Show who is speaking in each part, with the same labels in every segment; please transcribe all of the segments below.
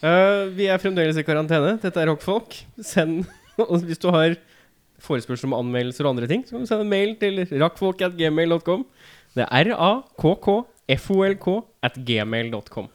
Speaker 1: Eh, vi er fremdeles i karantene. Dette er Rockfolk. Send og Hvis du har forespørsel om anmeldelser og andre ting, så kan du sende en mail til rakkfolk.gmail.com. Det er r-a-k-k-f-o-l-k at gmail.com.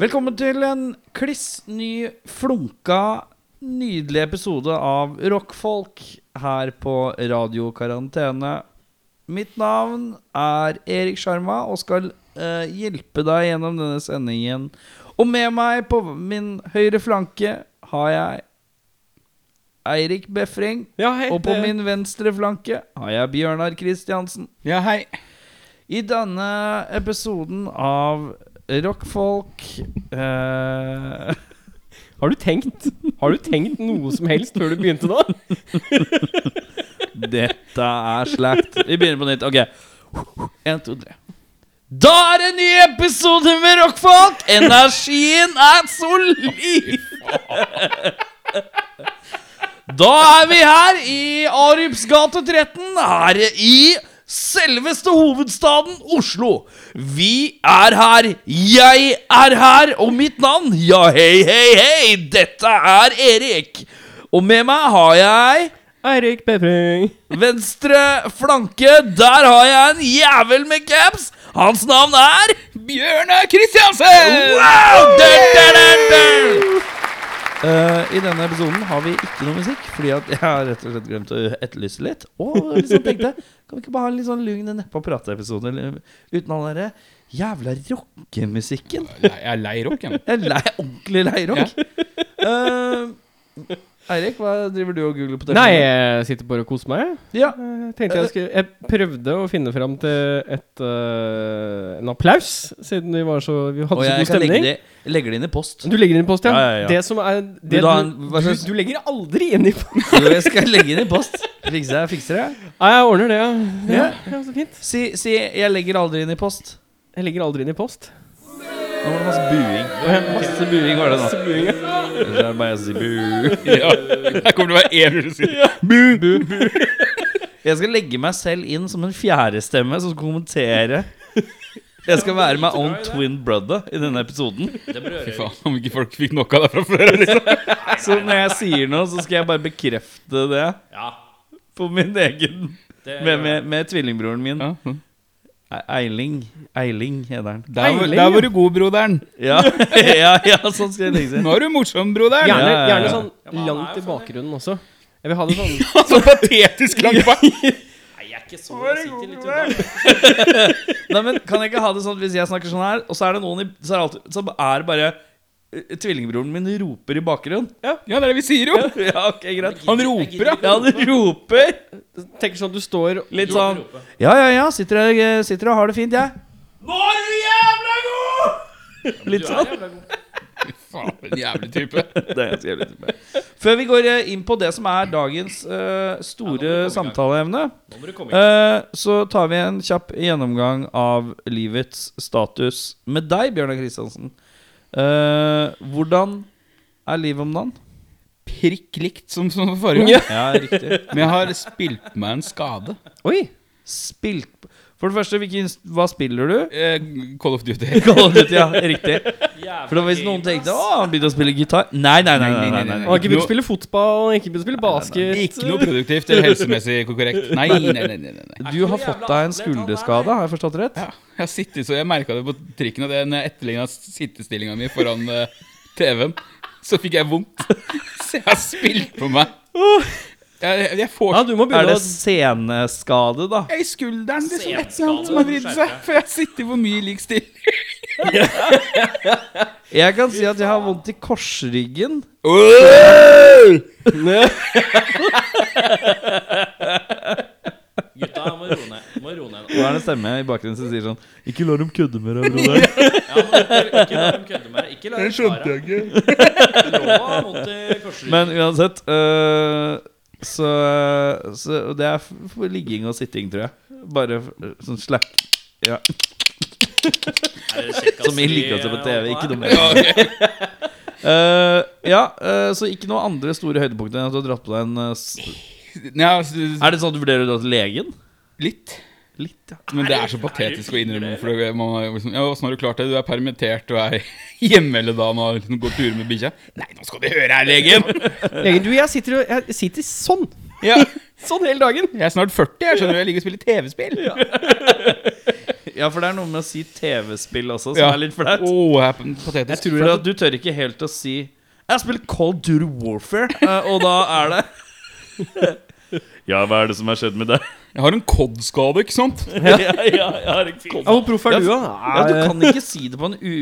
Speaker 2: Velkommen til en kliss ny, flunka, nydelig episode av Rockfolk her på Radio Karantene. Mitt navn er Erik Sjarma og skal eh, hjelpe deg gjennom denne sendingen. Og med meg på min høyre flanke har jeg Eirik Befring.
Speaker 1: Ja, hei,
Speaker 2: Og på
Speaker 1: det-
Speaker 2: min venstre flanke har jeg Bjørnar Kristiansen.
Speaker 3: Ja, hei.
Speaker 2: I denne episoden av Rockfolk eh,
Speaker 1: Har du tenkt Har du tenkt noe som helst før du begynte da?
Speaker 2: Dette er slakt. Vi begynner på nytt. Ok. Én, to, tre. Da er det en ny episode med Rockfolk! Energien er solid! Da er vi her i Arups gate 13, her i selveste hovedstaden Oslo. Vi er her, jeg er her, og mitt navn, ja hei, hei, hei, dette er Erik. Og med meg har jeg
Speaker 1: Eirik Befring.
Speaker 2: Venstre flanke, der har jeg en jævel med caps. Hans navn er
Speaker 3: Bjørnar Kristiansen!
Speaker 2: Wow! Dun, dun, dun, dun! Eh, I denne episoden har vi ikke noe musikk, fordi at jeg har rett og slett glemt å etterlyse litt. Og liksom tenkte Kan vi ikke bare ha en litt sånn lugn nedpå-prate-episode uten all den derre jævla rockemusikken?
Speaker 3: Jeg er lei rocken.
Speaker 2: Jeg er lei, ordentlig lei rock. Eh, Eirik, hva driver du og googler på
Speaker 1: Nei, jeg sitter bare og koser meg.
Speaker 2: Ja.
Speaker 1: Eh, Tenkte Jeg skulle Jeg prøvde å finne fram til et, eh, en applaus, siden vi, var så, vi hadde
Speaker 2: Og
Speaker 1: så
Speaker 2: jeg
Speaker 1: god
Speaker 2: kan legge
Speaker 1: stemning.
Speaker 2: det, legge det inn i post.
Speaker 1: Du legger inn i post, ja?
Speaker 2: Ja, ja, ja.
Speaker 1: Det som er det du,
Speaker 2: du ha en- hva
Speaker 1: du,
Speaker 2: slags-
Speaker 1: du legger aldri inn i post.
Speaker 2: Jo, jeg skal legge inn i post. Fikser jeg, fikser jeg.
Speaker 1: Nei, jeg ordner det, ja. Ja,
Speaker 2: Ja.
Speaker 1: ja. Så fint.
Speaker 2: Si, si 'jeg legger aldri inn i post'.
Speaker 1: Jeg legger aldri inn i post.
Speaker 2: Nå var det masse buing. Masse buing var det nå. Ellers er det bare jeg som sier bu.
Speaker 3: Ja. Her kommer det å være én som sier
Speaker 2: Jeg skal legge meg selv inn som en fjerdestemme som skal kommentere. Jeg skal være my own twin brother i denne episoden.
Speaker 3: Fy faen, om ikke folk fikk nok av deg fra før. Liksom.
Speaker 2: Så når jeg sier noe, så skal jeg bare bekrefte det. På min egen Med, med, med tvillingbroren min.
Speaker 3: Ja.
Speaker 2: E- Eiling. Eiling heter han.
Speaker 3: Der, var- der var du god, broderen.
Speaker 2: Ja, ja, ja, sånn skal jeg legge seg.
Speaker 3: Nå er du morsom, broderen.
Speaker 1: Gjerne,
Speaker 2: ja, ja.
Speaker 1: gjerne sånn langt i bakgrunnen også. Jeg vil ha det sånn
Speaker 3: Så patetisk langt bak.
Speaker 2: Nei, men Kan jeg ikke ha det sånn at hvis jeg snakker sånn her, og så er det noen i Så er det, alltid, så er det bare eh, Tvillingbroren min roper i bakgrunnen.
Speaker 3: Ja, det er det vi sier, jo.
Speaker 2: Ja, ok, greit
Speaker 3: Han roper, ja.
Speaker 2: Ja, han roper
Speaker 1: Tenker sånn at du står
Speaker 2: litt sånn Ja, ja, ja, sitter og, eh, sitter og har det fint, jeg. Nå er du jævla god! Litt sånn.
Speaker 3: Faen, en jævlig type.
Speaker 2: Det er ganske jævlig type. Før vi går eh, inn på det som er dagens eh, store samtaleemne, eh, så tar vi en kjapp gjennomgang av livets status med deg, Bjørnar Kristiansen. Eh, hvordan er livet om dagen?
Speaker 3: Prikk likt som, som forrige gang.
Speaker 2: Ja, riktig.
Speaker 3: Men jeg har spilt på meg en skade.
Speaker 1: Oi!
Speaker 2: Spilt For det første, hvilken, hva spiller du?
Speaker 3: Eh, Call of Duty.
Speaker 2: Call of Duty, ja, riktig For da hvis noen tenkte Å, han begynte å spille gitar Nei, nei, nei, nei, nei, nei,
Speaker 1: Han har ikke begynt å spille fotball, han har ikke begynt å spille basket.
Speaker 3: Ikke noe produktivt eller helsemessig korrekt. Nei, nei, nei. nei, nei, nei.
Speaker 2: Du har fått deg en skulderskade, har jeg forstått rett?
Speaker 3: Ja, jeg har sittet så jeg merka det på trikken at jeg- når jeg etterligna sittestillinga mi foran eh, TV-en, så fikk jeg vondt. Så jeg har spilt på meg. Jeg, jeg får
Speaker 1: Ja, du må
Speaker 2: Er
Speaker 1: begynne
Speaker 2: det
Speaker 1: å
Speaker 2: seneskade da?
Speaker 3: jeg i skulderen liksom, et eller annet som har vridd seg. For jeg sitter for mye i lik stilling.
Speaker 2: Jeg kan si at jeg har vondt i korsryggen
Speaker 4: Gutta, jeg må roe ned. Må roe ned.
Speaker 2: Og da er det en stemme i bakgrunnen som sier sånn Ikke la dem kødde med deg, bror.
Speaker 4: Ja, men ikke la dem kødde med deg. Ikke la dem svare.
Speaker 3: jeg ikke.
Speaker 4: Lova holdt i eh, korsryggen.
Speaker 2: Men uansett øh, så, så og Det er f- for ligging og sitting, tror jeg. Bare f- sånn slack. Ja.
Speaker 4: Er det kjekk, ass,
Speaker 2: Som i
Speaker 4: vi,
Speaker 2: liggekanten på
Speaker 4: eh,
Speaker 2: TV.
Speaker 4: holder
Speaker 2: Ikke
Speaker 4: på
Speaker 2: noe
Speaker 4: her?
Speaker 2: mer. Eh, ja, eh, så ikke noe andre store høydepunkter enn at du har dratt på deg en eh, s-
Speaker 3: Ja, s-
Speaker 2: Er det sånn at du vurderer å dra til legen?
Speaker 3: litt.
Speaker 2: Litt, ja.
Speaker 3: Men det er så patetisk å innrømme. For det- man er jo liksom, ja, 'Åssen har du klart det? Du er permittert og er hjemme hele dagen og liksom går turer med bikkja.' 'Nei, nå skal du høre her, legen!'
Speaker 1: Legen, du, jeg sitter, og- jeg sitter sånn.
Speaker 3: Ja,
Speaker 1: Sånn hele dagen.
Speaker 3: jeg er snart 40, jeg skjønner du. Jeg ligger og spiller TV-spill. Å,
Speaker 2: Ja, for det er noe med å si TV-spill også som
Speaker 3: Ja.
Speaker 2: er litt flaut.
Speaker 3: jeg er patetisk.
Speaker 2: For at du tør ikke helt å si Jeg har spilt Cold Duty Warfare, eh, og da er det Ja, hva er det som har skjedd med deg?
Speaker 3: Jeg har en COD-skade, ikke sant?
Speaker 2: ja, ja, jeg har ikke kommet-
Speaker 1: Ja, Hvor proff er
Speaker 2: Ja,
Speaker 1: du, da?
Speaker 2: ja, du kan ikke si det på en u...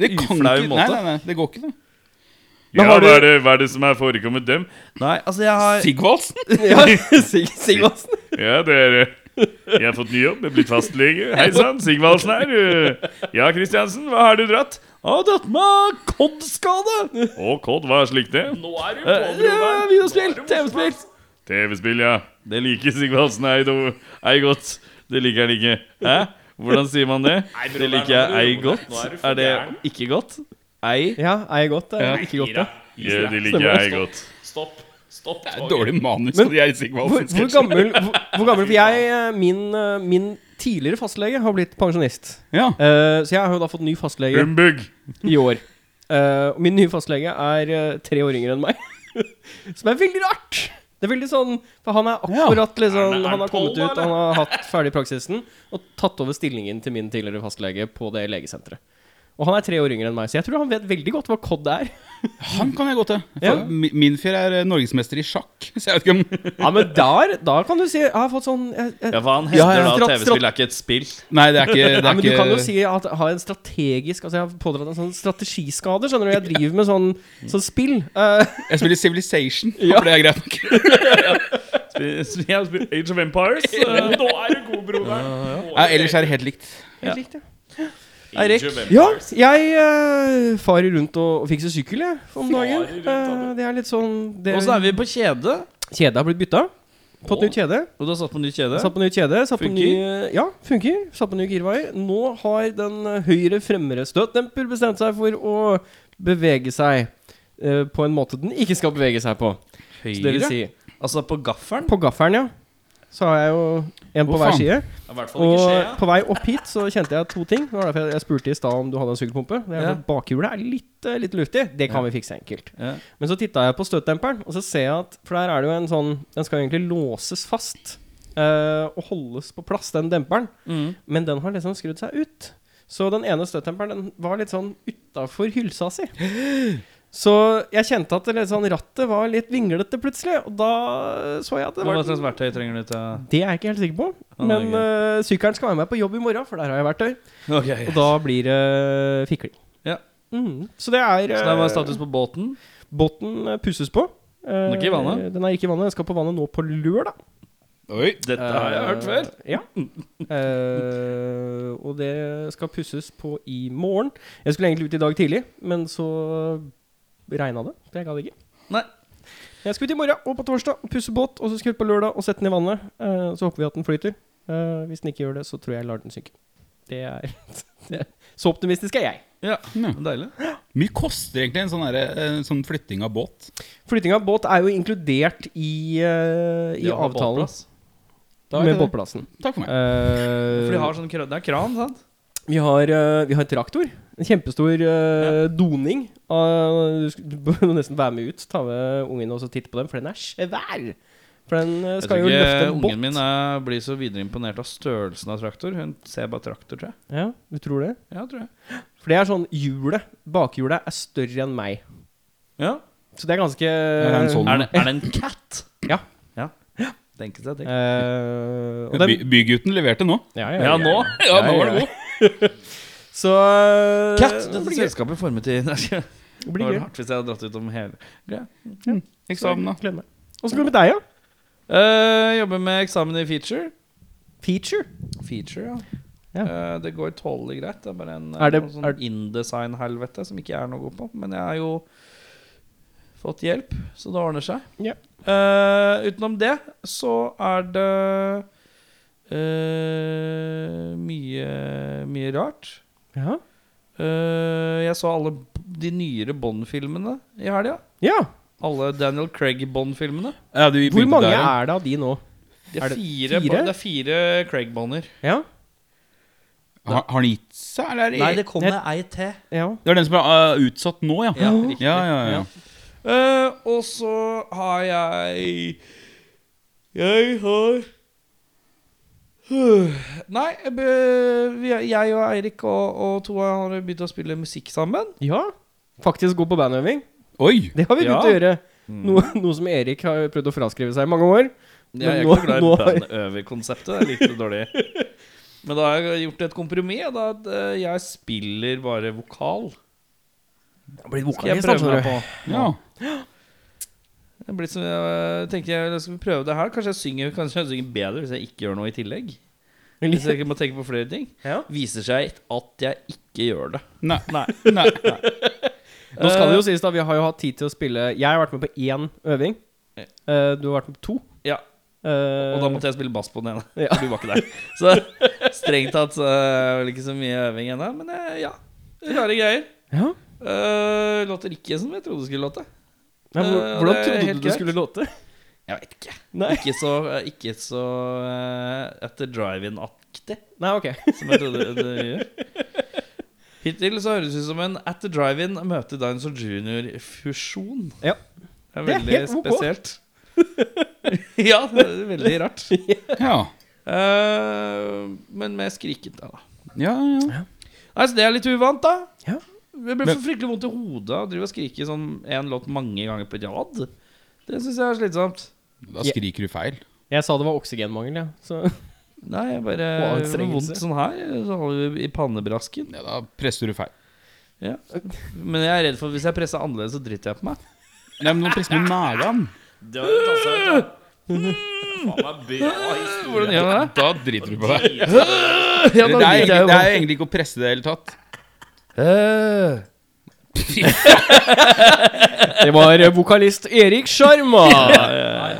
Speaker 3: Det kan
Speaker 2: Uflau
Speaker 3: ikke, nei,
Speaker 2: måte.
Speaker 3: nei, nei, det går ikke, det.
Speaker 1: Men har du-
Speaker 5: er det, hva er det som har forekommet dem?
Speaker 2: Nei, altså, jeg har
Speaker 3: Sigvaldsen?
Speaker 1: Ja, Sig Sigvaldsen.
Speaker 5: Ja, det er eh, Jeg har fått ny jobb, jeg er blitt fastlege. Hei sann, Sigvaldsen her. eh. Ja, Kristiansen, hva har du dratt?
Speaker 2: Å, dratt meg koddskade!
Speaker 5: Å, Kod, hva er slikt det?
Speaker 4: Nå er du på,
Speaker 2: Eh, Ja,
Speaker 4: broderen.
Speaker 2: videospill! TV-spill!
Speaker 5: TV-spill, ja. Det liker Sigvaldsen ei, do- ei godt. Det liker han ikke. Hæ? Hvordan sier man det?
Speaker 4: Nei, bror,
Speaker 2: Det
Speaker 4: nå
Speaker 2: liker jeg
Speaker 4: er
Speaker 2: ei
Speaker 4: du rolig.
Speaker 2: godt.
Speaker 4: Nå du for
Speaker 2: Er det
Speaker 4: gæren.
Speaker 2: ikke godt? Ei?
Speaker 1: Ja, er jeg godt? Er jeg ikke godt, da?
Speaker 5: Ja, det liker jeg ei godt.
Speaker 4: Stopp. Stopp.
Speaker 3: Det er
Speaker 4: toget.
Speaker 3: dårlig manus.
Speaker 1: Men-
Speaker 3: og de er i
Speaker 1: Hvor,
Speaker 3: Sigvaldsen
Speaker 1: hvor gammel hvor, hvor gammel, For jeg, eh, min, eh, min tidligere fastlege har blitt pensjonist.
Speaker 3: Ja.
Speaker 1: Eh, så jeg har jo da fått ny fastlege
Speaker 5: Humbug.
Speaker 1: i år. Eh, og min nye fastlege er eh, tre år yngre enn meg. Som er veldig rart! Det er veldig sånn For han er akkurat liksom
Speaker 4: Er han- er
Speaker 1: Han har
Speaker 4: han tolv
Speaker 1: kommet
Speaker 4: da,
Speaker 1: ut, han har hatt ferdig praksisen og tatt over stillingen til min tidligere fastlege på det legesenteret. Og han er tre år yngre enn meg, så jeg tror han vet veldig godt hva COD er.
Speaker 3: Han kan jeg gå til.
Speaker 1: Ja.
Speaker 3: For mi- Min fyr er eh, norgesmester i sjakk. Så jeg vet ikke om
Speaker 1: Ja, men der, da kan du si Jeg har fått sånn jeg, jeg,
Speaker 2: Ja, for han
Speaker 1: Ja, ja.
Speaker 2: hevder da at
Speaker 1: Strat- strat-
Speaker 2: TV-spill er ikke et spill.
Speaker 3: Nei, det er ikke, det er
Speaker 1: Nei, men du
Speaker 3: ikke
Speaker 1: kan jo si at jeg har en strategisk Altså jeg har pådratt en sånn strategiskade, skjønner du. Jeg driver med sånn, sånn spill. Eh,
Speaker 3: Jeg spiller Civilization. Ja. For det er greit nok.
Speaker 5: Jeg har spilt Age of Empires. eh.
Speaker 4: Nå er du god, broderen. Nå
Speaker 3: Ja, ellers er det helt likt.
Speaker 1: helt riktig.
Speaker 4: Age
Speaker 2: Eirik?
Speaker 4: of Empires.
Speaker 1: Ja, jeg eh, farer rundt og, og fikser sykkel, jeg, om dagen.
Speaker 4: Farer rundt, ja,
Speaker 1: Eh, det er litt sånn det,
Speaker 2: Og så er vi på kjede.
Speaker 1: Kjedet har blitt bytta. Fått nytt kjede.
Speaker 2: Og du har satt på ny kjede?
Speaker 1: Satt på nytt kjede. Satt på
Speaker 2: Funker?
Speaker 1: ny, ja, funker. Satt på ny girveier. Nå har den eh, høyre fremre støtdemper bestemt seg for å bevege seg eh, på en måte den ikke skal bevege seg på. Så det vil si
Speaker 2: Altså på gaffelen?
Speaker 1: På gaffelen, ja. Så har jeg jo en på
Speaker 3: Hvor
Speaker 1: hver
Speaker 3: faen?
Speaker 1: side.
Speaker 2: I hvert fall
Speaker 1: Og
Speaker 2: ikke skjea.
Speaker 1: på vei opp hit så kjente jeg to ting. Det var derfor jeg- jeg spurte i stad om du hadde en sugerpumpe. Det er
Speaker 2: Ja.
Speaker 1: at Bakhjulet er litt, eh, litt luftig. Det kan vi fikse enkelt.
Speaker 2: Ja.
Speaker 1: Men så titta jeg på støtdemperen, og så ser jeg at For der er det jo en sånn Den skal egentlig låses fast eh, og holdes på plass, den demperen.
Speaker 2: Mm.
Speaker 1: Men den har liksom skrudd seg ut. Så den ene støtdemperen den var litt sånn utafor hylsa si. Så jeg kjente at det litt sånn rattet var litt vinglete plutselig, og da så jeg at det
Speaker 2: Hva
Speaker 1: var
Speaker 2: slags verktøy trenger du til
Speaker 1: det er jeg ikke helt sikker på.
Speaker 2: Ah,
Speaker 1: Men
Speaker 2: ok.
Speaker 1: uh, sykkelen skal være med på jobb i morgen, for der har jeg verktøy.
Speaker 2: Ok,
Speaker 1: Og da blir det fikling.
Speaker 2: Ja.
Speaker 1: Mm. Så det er
Speaker 2: Så det var status på båten.
Speaker 1: Båten eh, pusses på. Eh,
Speaker 2: Den er ikke i vannet?
Speaker 1: Den er ikke i vannet. Den skal på vannet nå på lørdag.
Speaker 3: Oi.
Speaker 2: Dette har jeg hørt før.
Speaker 1: Eh, Ja. Eh, og det skal pusses på i morgen. Jeg skulle egentlig ut i dag tidlig, men så regna det. så Jeg gadd ikke.
Speaker 2: Nei.
Speaker 1: Jeg skal ut i morgen og på torsdag og pusse båt, og så skal jeg ut på lørdag og sette den i vannet. Eh, så håper vi at den flyter. Eh, hvis den ikke gjør det, så tror jeg jeg lar den synke. Det er, det er Så optimistisk er jeg.
Speaker 2: Ja,
Speaker 3: Ja.
Speaker 2: Eh, Deilig.
Speaker 3: Mye koster egentlig en sånn, derre, eh, sånn flytting av båt.
Speaker 1: Flytting av båt er jo inkludert i, eh, i
Speaker 2: De har
Speaker 1: avtalen
Speaker 2: båtplass.
Speaker 3: Da er
Speaker 1: med
Speaker 3: det det.
Speaker 1: båtplassen.
Speaker 3: Takk for meg.
Speaker 1: Eh,
Speaker 2: For de har sånn kran, det er kran, sant?
Speaker 1: Vi har, eh, vi har traktor. En kjempestor eh, doning. av- du sk- du bør nesten være med ut, ta med ungen og så titte på den, for den er svær! For den eh,
Speaker 2: Jeg
Speaker 1: skal
Speaker 2: tror
Speaker 1: jo løfte
Speaker 2: ikke
Speaker 1: en båt.
Speaker 2: ungen min er, blir så videre imponert av størrelsen av traktor. Hun ser bare traktor, tror jeg.
Speaker 1: Ja, du tror det?
Speaker 2: Ja, tror jeg.
Speaker 1: For det er sånn hjulet, bakhjulet, er større enn meg.
Speaker 2: Ja.
Speaker 1: Så det er ganske
Speaker 3: det en sånn?
Speaker 2: Er, det, er det en cat?
Speaker 1: Ja.
Speaker 2: ja. Tenke seg det.
Speaker 1: Eh, og
Speaker 3: By,
Speaker 1: den,
Speaker 3: bygutten leverte nå.
Speaker 1: ja,
Speaker 5: Ja, nå.
Speaker 2: Eh,
Speaker 3: Ja, nå var det god.
Speaker 1: Så eh,
Speaker 2: Cat!
Speaker 1: Det
Speaker 2: Dette
Speaker 1: blir gøy.
Speaker 2: selskapet formet i Nei, Det
Speaker 1: Det blir
Speaker 2: var
Speaker 1: gøy.
Speaker 2: hardt hvis jeg hadde dratt ut om hele greia.
Speaker 3: Eksamen, da.
Speaker 1: Gleder meg. Åssen går det med deg, da?
Speaker 2: Eh, jobber med eksamen i feature.
Speaker 1: Feature?
Speaker 2: feature, ja. Eh, det går tålelig greit. Det er bare en
Speaker 1: Er det-
Speaker 2: noe
Speaker 1: er-
Speaker 2: sånn indesign-helvete som ikke jeg er noe god på. Men jeg har jo fått hjelp, så det ordner seg.
Speaker 1: Ja.
Speaker 2: Eh, utenom det så er det eh, mye, mye rart.
Speaker 1: Ja.
Speaker 2: Eh, jeg så alle b- de nyere Bond-filmene i helga.
Speaker 1: ja.
Speaker 2: Alle Daniel Craig-Bond-filmene.
Speaker 3: Ja, du
Speaker 1: Hvor
Speaker 3: begynte
Speaker 1: mange
Speaker 3: der, ja.
Speaker 1: er det av de nå?
Speaker 2: Det
Speaker 1: Er
Speaker 2: er,
Speaker 1: det
Speaker 2: fire,
Speaker 1: fire?
Speaker 2: det er fire Craig-baner.
Speaker 1: Ja.
Speaker 3: Har, har den gitt seg, eller? Er det...
Speaker 2: Nei, det kommer ei til.
Speaker 1: ja.
Speaker 3: det var den som er øh, utsatt nå, ja.
Speaker 2: Ja, riktig.
Speaker 3: ja, ja, ja.
Speaker 2: Eh, og så har jeg Jeg har Øh, Nei, jeg be- vi er- jeg og Eirik og, og Toa har begynt å spille musikk sammen.
Speaker 1: ja. Faktisk god på bandøving.
Speaker 3: Oi!
Speaker 1: Det har vi begynt å
Speaker 2: Ja. Mm.
Speaker 1: gjøre. Noe, noe som Erik har prøvd å fraskrive seg i mange år.
Speaker 2: Jeg er
Speaker 1: Men
Speaker 2: ikke glad
Speaker 1: nå-
Speaker 2: i
Speaker 1: nå har-
Speaker 2: bandøverkonseptet. Det er litt dårlig. Men da har jeg gjort et kompromiss. Da at eh, jeg spiller bare vokal. Skal jeg prøve meg på
Speaker 3: Ja.
Speaker 2: Jeg blir som, jeg tenkte jeg skal vi prøve det her. Kanskje jeg synger Kanskje jeg synger bedre hvis jeg ikke gjør noe i tillegg. Hvis jeg ikke må tenke på flere ting.
Speaker 1: Ja.
Speaker 2: Viser seg at jeg ikke gjør det.
Speaker 3: Nei. Nei.
Speaker 1: Nå skal
Speaker 2: Eh.
Speaker 1: det jo sies da, vi har jo hatt tid til å spille Jeg har vært med på én øving.
Speaker 2: Ja.
Speaker 1: Eh, du har vært med på to.
Speaker 2: Ja.
Speaker 1: Eh,
Speaker 2: Og da måtte jeg spille bass på den ene.
Speaker 1: Ja.
Speaker 2: for Du var ikke der. Så strengt tatt så er det vel ikke så mye øving ennå. Men eh, ja. Rare greier.
Speaker 1: ja.
Speaker 2: Eh, låter ikke som jeg trodde det skulle låte.
Speaker 1: Ja, hvor,
Speaker 2: Eh,
Speaker 1: hvordan
Speaker 2: det er
Speaker 1: trodde
Speaker 2: helt
Speaker 1: du det skulle låte?
Speaker 2: Jeg vet ikke.
Speaker 1: Nei,
Speaker 2: Ikke så, ikke så eh, etter drive-in-aktig.
Speaker 1: Nei ok.
Speaker 2: som jeg trodde det gjør. Hittil så høres det ut som en At the Drive-In møter Dinosaur Junior-fusjon.
Speaker 1: Ja.
Speaker 2: Det er
Speaker 1: Det er
Speaker 2: veldig
Speaker 1: helt ok.
Speaker 2: spesielt. ja, det er veldig rart.
Speaker 3: Ja.
Speaker 2: Eh, men med skriket, da.
Speaker 3: Ja, ja.
Speaker 2: Nei, så det er litt uvant, da.
Speaker 1: Ja.
Speaker 2: Det blir så fryktelig vondt i hodet å drive og skrike sånn én låt mange ganger på rad. Det syns jeg er slitsomt.
Speaker 3: Da skriker du feil.
Speaker 1: Jeg sa det var oksygenmangel, ja. Så
Speaker 2: Nei, jeg
Speaker 1: Og
Speaker 2: bare det blir
Speaker 1: anstrengelse.
Speaker 2: vondt sånn her. Så holder vi i pannebrasken.
Speaker 3: Ja, da presser du feil.
Speaker 2: Men jeg er redd for at hvis jeg presser annerledes, så driter jeg på meg.
Speaker 3: Nei, men nå presser du magen.
Speaker 4: Det var litt annerledes, da. Faen meg bra historie.
Speaker 2: Hvordan gjør man det?
Speaker 3: Da driter du på deg.
Speaker 2: Ja, da
Speaker 3: Det er,
Speaker 2: driter jeg
Speaker 3: egentlig,
Speaker 2: jo
Speaker 3: det
Speaker 2: på-
Speaker 3: er egentlig ikke å presse det i det hele tatt.
Speaker 2: Øh.
Speaker 1: Det var eh, vokalist Erik Sjarma.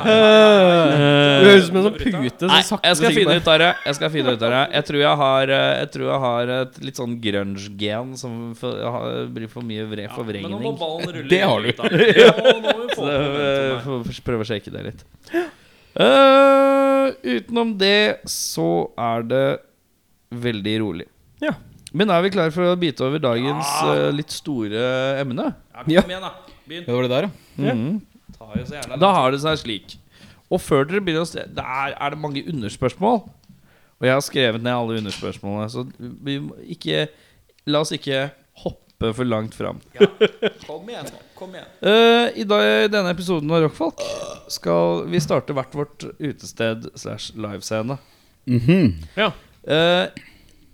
Speaker 1: Du høres ut som en sånn pute
Speaker 2: Nei,
Speaker 1: som sakte men
Speaker 2: jeg skal
Speaker 1: sikkert
Speaker 2: finne
Speaker 1: bare-
Speaker 2: ut av det. Jeg skal finne ut av det Jeg tror jeg har, eh, jeg tror jeg har et litt sånn grunge-gen som for, har- blir for mye vre,
Speaker 4: Men nå må
Speaker 2: forvrengning.
Speaker 4: ballen rulle
Speaker 3: Det har du.
Speaker 4: litt, da. Ja, nå må vi
Speaker 2: Så
Speaker 4: få
Speaker 2: eh,
Speaker 4: det.
Speaker 2: får prøve å shake det litt. Eh, utenom det så er det veldig rolig.
Speaker 1: Ja.
Speaker 2: Men er vi klare for å bite over dagens eh, litt store emne?
Speaker 1: Ja.
Speaker 4: Kom igjen, da. Begynn.
Speaker 3: Ja, det var det der, ja.
Speaker 4: Tar jo så jævla
Speaker 2: Da har det seg slik. Og før dere begynner å se Det er, er det mange underspørsmål. Og jeg har skrevet ned alle underspørsmålene, så vi må ikke La oss ikke hoppe for langt fram.
Speaker 4: Kom igjen. Kom igjen.
Speaker 2: Eh, I dag, i denne episoden av Rockfolk skal vi starte hvert vårt utested slash livescene. Eh,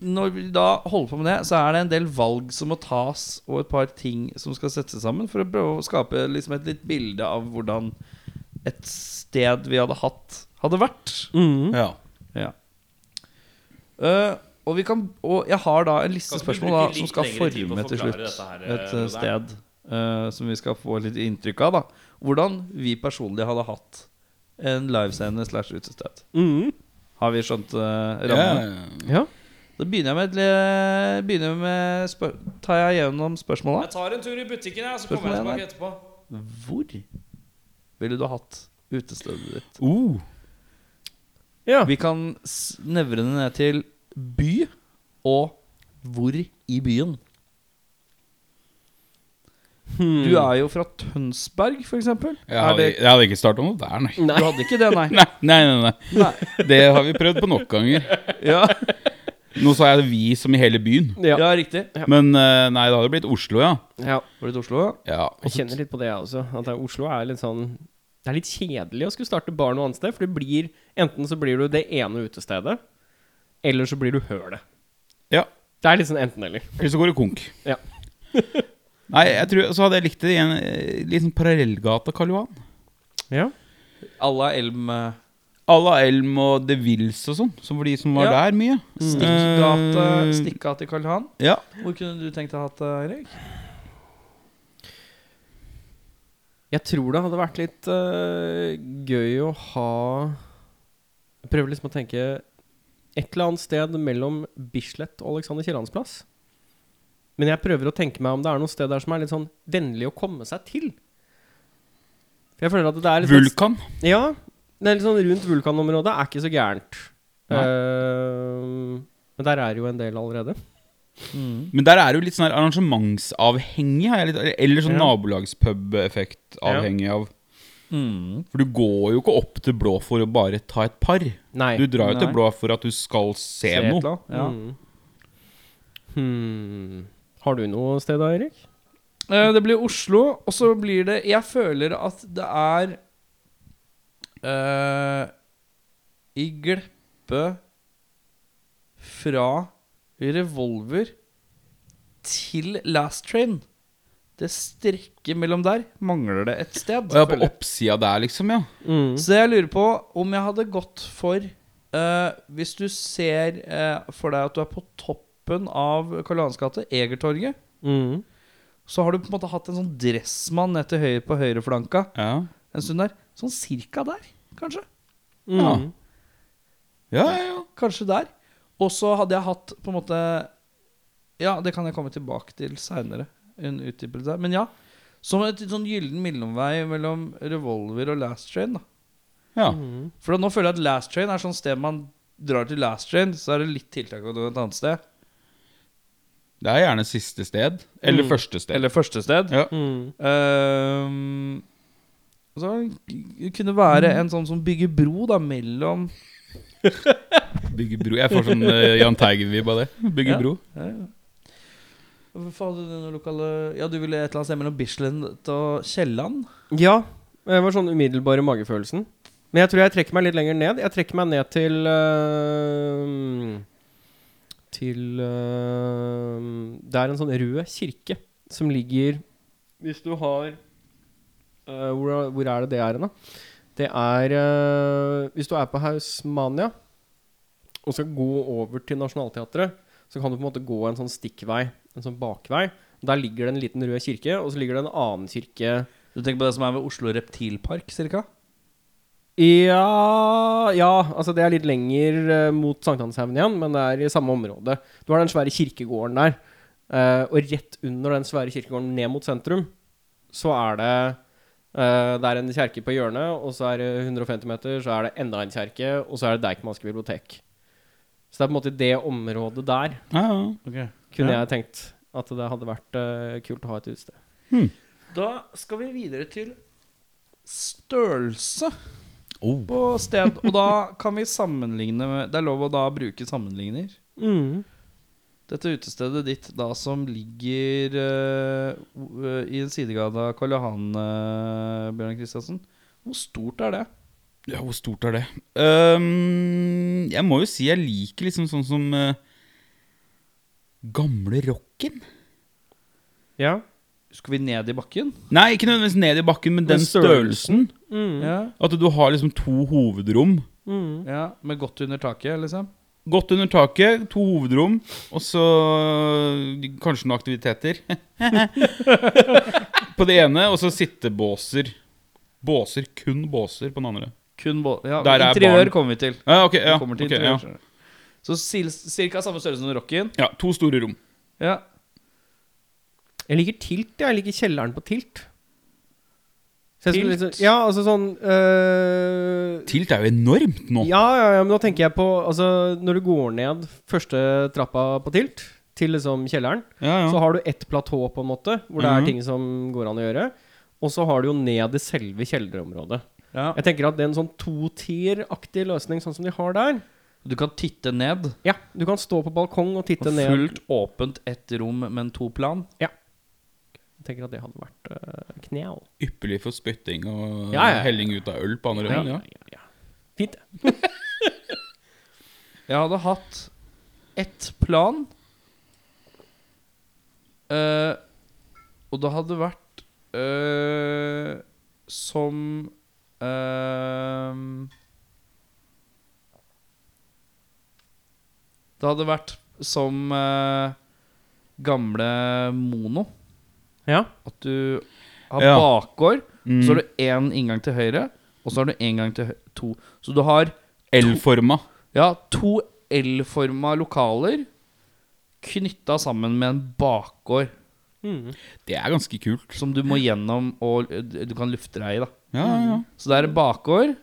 Speaker 2: når vi da holder på med det, så er det en del valg som må tas, og et par ting som skal settes sammen, for å prøve å skape liksom et litt bilde av hvordan et sted vi hadde hatt, hadde vært.
Speaker 1: Mhm.
Speaker 3: ja.
Speaker 2: Ja. Eh, og, vi kan, og jeg har da en liste
Speaker 4: Kan ikke vi
Speaker 2: spørsmål da,
Speaker 4: bruke
Speaker 2: som
Speaker 4: litt
Speaker 2: skal
Speaker 4: lengre tid på å
Speaker 2: forme til
Speaker 4: forklare
Speaker 2: slutt
Speaker 4: dette her,
Speaker 2: et eh,
Speaker 4: Robert?
Speaker 2: sted eh, som vi skal få litt inntrykk av. da Hvordan vi personlig hadde hatt en livescene slash utested.
Speaker 1: Mhm.
Speaker 2: Har vi skjønt eh,
Speaker 3: ja.
Speaker 2: rammene?
Speaker 1: ja.
Speaker 2: Da begynner jeg med, et le- begynner jeg med spør Tar jeg gjennom spørsmåla?
Speaker 4: Jeg tar en tur i butikken, jeg, så
Speaker 2: Spørsmål
Speaker 4: kommer jeg
Speaker 2: igjen
Speaker 4: tilbake etterpå.
Speaker 2: Hvor ville du ha hatt utestedet ditt?
Speaker 3: Uh.
Speaker 1: ja.
Speaker 2: Vi kan s- nevne det ned til by og hvor i byen. Du er jo fra Tønsberg, for eksempel.
Speaker 3: Jeg,
Speaker 2: Er
Speaker 3: hadde,
Speaker 2: det,
Speaker 3: jeg hadde ikke starta noe der, nei.
Speaker 2: du hadde ikke det, nei?
Speaker 3: Nei, nei, nei, nei.
Speaker 2: Nei.
Speaker 3: Det har vi prøvd på nok ganger.
Speaker 2: Ja,
Speaker 3: Nå sa jeg vi som i hele byen.
Speaker 1: Ja.
Speaker 2: ja riktig.
Speaker 3: Men eh, nei, det hadde blitt Oslo, ja.
Speaker 1: ja.
Speaker 2: Var det til Oslo? ja?
Speaker 3: ja.
Speaker 1: Jeg kjenner litt på det, jeg også. At det- Oslo er litt sånn Det er litt kjedelig å skulle starte bar noe annet sted. For det blir enten så blir du det ene utestedet, eller så blir du hølet.
Speaker 3: Ja.
Speaker 1: Det er litt sånn enten-eller.
Speaker 3: Eller så går det konk.
Speaker 1: Ja.
Speaker 3: Nei, jeg tror, så hadde jeg likt det i en sånn eh, liten parallellgate av Karl Johan.
Speaker 1: Ja.
Speaker 2: Alla Elm eh,
Speaker 3: à la Elm og De Wills og sånn, som var de som var
Speaker 2: Ja.
Speaker 3: der mye.
Speaker 2: Stikkgate,
Speaker 3: Eh,
Speaker 2: stikkgate i Karl Johan.
Speaker 3: Ja.
Speaker 2: Hvor kunne du tenkt deg å ha det, Eirik?
Speaker 1: Jeg tror det hadde vært litt øh, gøy å ha Jeg prøver liksom å tenke et eller annet sted mellom Bislett og Alexander Kiellands plass. Men jeg prøver å tenke meg om det er noe sted der som er litt sånn vennlig å komme seg til. For jeg føler at det er litt sånn
Speaker 3: Vulkan.
Speaker 1: Ja. Det er litt sånn rundt vulkanområdet er ikke så gærent. Eh, men der er jo en del allerede.
Speaker 3: Men der er det jo litt sånn her arrangementsavhengig, har jeg litt, eller sånn
Speaker 1: Ja.
Speaker 3: nabolagspub-effekt avhengig av. For du går jo ikke opp til Blå for å bare ta et par.
Speaker 1: Nei.
Speaker 3: Du drar jo til
Speaker 2: Nei.
Speaker 3: Blå for at du skal se,
Speaker 2: Se et eller
Speaker 3: noe.
Speaker 2: annet, Ja.
Speaker 1: Mm. Hmm. Har du noe sted da, Erik?
Speaker 2: Eh, Det blir Oslo, og så blir det Jeg føler at det er eh, I Gleppe fra Revolver til Last Train. Det strekket mellom der mangler det et sted.
Speaker 3: Og ja, på
Speaker 2: føler jeg.
Speaker 3: oppsida der, liksom, ja.
Speaker 1: 嗯
Speaker 2: Så jeg lurer på om jeg hadde gått for eh, Hvis du ser eh, for deg at du er på toppen av Karl Johans gate, Egertorget,
Speaker 1: Mm.
Speaker 2: så har du på en måte hatt en sånn dressmann ned til høyre på høyreflanka
Speaker 3: Ja,
Speaker 2: en stund der. Sånn cirka der, kanskje.
Speaker 1: Mm.
Speaker 3: Ja. ja, ja. ja.
Speaker 2: Kanskje der. Og så hadde jeg hatt på en måte Ja, det kan jeg komme tilbake til seinere. En utdypelse. Men ja. Som et sånn gyllen mellomvei mellom revolver og last train. da
Speaker 3: ja.
Speaker 1: Mm.
Speaker 2: For nå føler jeg at Last Train er sånn sted man drar til Last Train, så er det litt tiltak å dra et annet sted.
Speaker 3: Det er gjerne siste sted. Eller første sted.
Speaker 2: Eller første sted.
Speaker 3: Ja.
Speaker 1: Mm.
Speaker 2: Ehm, og så det kunne være en sånn som bygger bro da mellom
Speaker 3: Bygge bro. Jeg får sånn eh, Jahn Teigen-vibb av det. Bygge
Speaker 2: Ja.
Speaker 3: bro.
Speaker 2: Hvorfor hadde du noe lokale Ja, du ville et eller annet sted mellom Bislett og Kielland?
Speaker 1: ja. Det var sånn umiddelbare magefølelsen. Men jeg tror jeg trekker meg litt lenger ned. Jeg trekker meg ned til øhm, Til øhm, Det er en sånn rød kirke som ligger Hvis du har øh, hvor, er- hvor er det det er hen, da? Det er øh, Hvis du er på Hausmania og skal gå over til Nationaltheatret, så kan du på en måte gå en sånn stikkvei, en sånn bakvei. Der ligger det en liten rød kirke, og så ligger det en annen kirke
Speaker 2: Du tenker på det som er ved Oslo Reptilpark, cirka?
Speaker 1: Ja, ja altså det er litt lenger eh, mot Sankthanshaugen igjen, men det er i samme område. Du har den svære kirkegården der, eh, og rett under den svære kirkegården ned mot sentrum, så er det eh, Det er en kjerke på hjørnet, og så er det 150 meter, så er det enda en kjerke, og så er det Deichmanske bibliotek. Så det er på en måte det området der
Speaker 3: Ja, ja.
Speaker 1: kunne jeg tenkt at det hadde vært eh, kult å ha et utested.
Speaker 2: Da skal vi videre til størrelse.
Speaker 3: Oh.
Speaker 2: på sted. Og da kan vi sammenligne med Det er lov å da bruke sammenligner. Dette utestedet ditt da som ligger eh, o- eh, i en sidegade av Karl Johan, eh, Bjørnar Kristiansen. Hvor stort er det?
Speaker 3: Ja, hvor stort er det? Øhm, jeg må jo si jeg liker liksom sånn som eh, Gamle rocken?
Speaker 1: Ja.
Speaker 2: Skal vi ned i bakken?
Speaker 3: Nei, ikke nødvendigvis ned i bakken, men den
Speaker 1: Men
Speaker 3: størrelsen. Mm.
Speaker 2: Ja.
Speaker 3: At du har liksom to hovedrom.
Speaker 2: ja Med godt under taket, liksom?
Speaker 3: Godt under taket, to hovedrom, og så kanskje noen aktiviteter. på det ene, og så sittebåser. Båser, kun båser på den andre.
Speaker 2: Kun bå- ja,
Speaker 3: Der er
Speaker 2: interiør
Speaker 3: barn.
Speaker 2: kommer vi til.
Speaker 3: Ja, ok, ja,
Speaker 2: vi kommer til
Speaker 3: ok,
Speaker 2: interiør,
Speaker 3: ja.
Speaker 2: skjønner du. Så sil- cirka samme størrelse som Rocken?
Speaker 3: ja, to store rom.
Speaker 2: Ja.
Speaker 1: Jeg liker tilt, jeg. Jeg liker kjelleren på tilt. Så jeg skulle
Speaker 2: Tilt?
Speaker 1: Liksom, ja, altså sånn øh,
Speaker 3: Tilt er jo enormt nå.
Speaker 1: ja, ja, ja, men nå tenker jeg på Altså, når du går ned første trappa på tilt, til liksom kjelleren,
Speaker 3: Ja, ja.
Speaker 1: så har du ett platå, på en måte, hvor det
Speaker 3: Mhm.
Speaker 1: er ting som går an å gjøre. Og så har du jo ned i selve kjellerområdet.
Speaker 2: ja.
Speaker 1: Jeg tenker at det er en sånn to-tier-aktig løsning, sånn som de har der
Speaker 2: Du kan titte ned.
Speaker 1: Ja, du kan stå på balkong og titte
Speaker 2: Og
Speaker 1: ned.
Speaker 2: fullt åpent ett rom, men to plan.
Speaker 1: Jeg tenker at det hadde vært øh, knall.
Speaker 3: Ypperlig for spytting og
Speaker 1: Ja, ja.
Speaker 3: helling ut av øl på andre hånd. Ja.
Speaker 1: ja, ja. Fint. det.
Speaker 2: Jeg hadde hatt ett plan. eh, og det hadde vært eh, som eh, Det hadde vært som eh, gamle Mono.
Speaker 1: Ja.
Speaker 2: At du har
Speaker 3: Ja.
Speaker 2: bakgård,
Speaker 3: Mm.
Speaker 2: så har du én inngang til høyre, og så har du én gang til hø to. Så du har
Speaker 3: L-forma.
Speaker 2: ja, to L-forma lokaler knytta sammen med en bakgård
Speaker 1: Mm.
Speaker 3: Det er ganske kult.
Speaker 2: som du må gjennom og du kan lufte deg i. da
Speaker 3: Ja, ja, ja.
Speaker 2: Så det er en bakgård.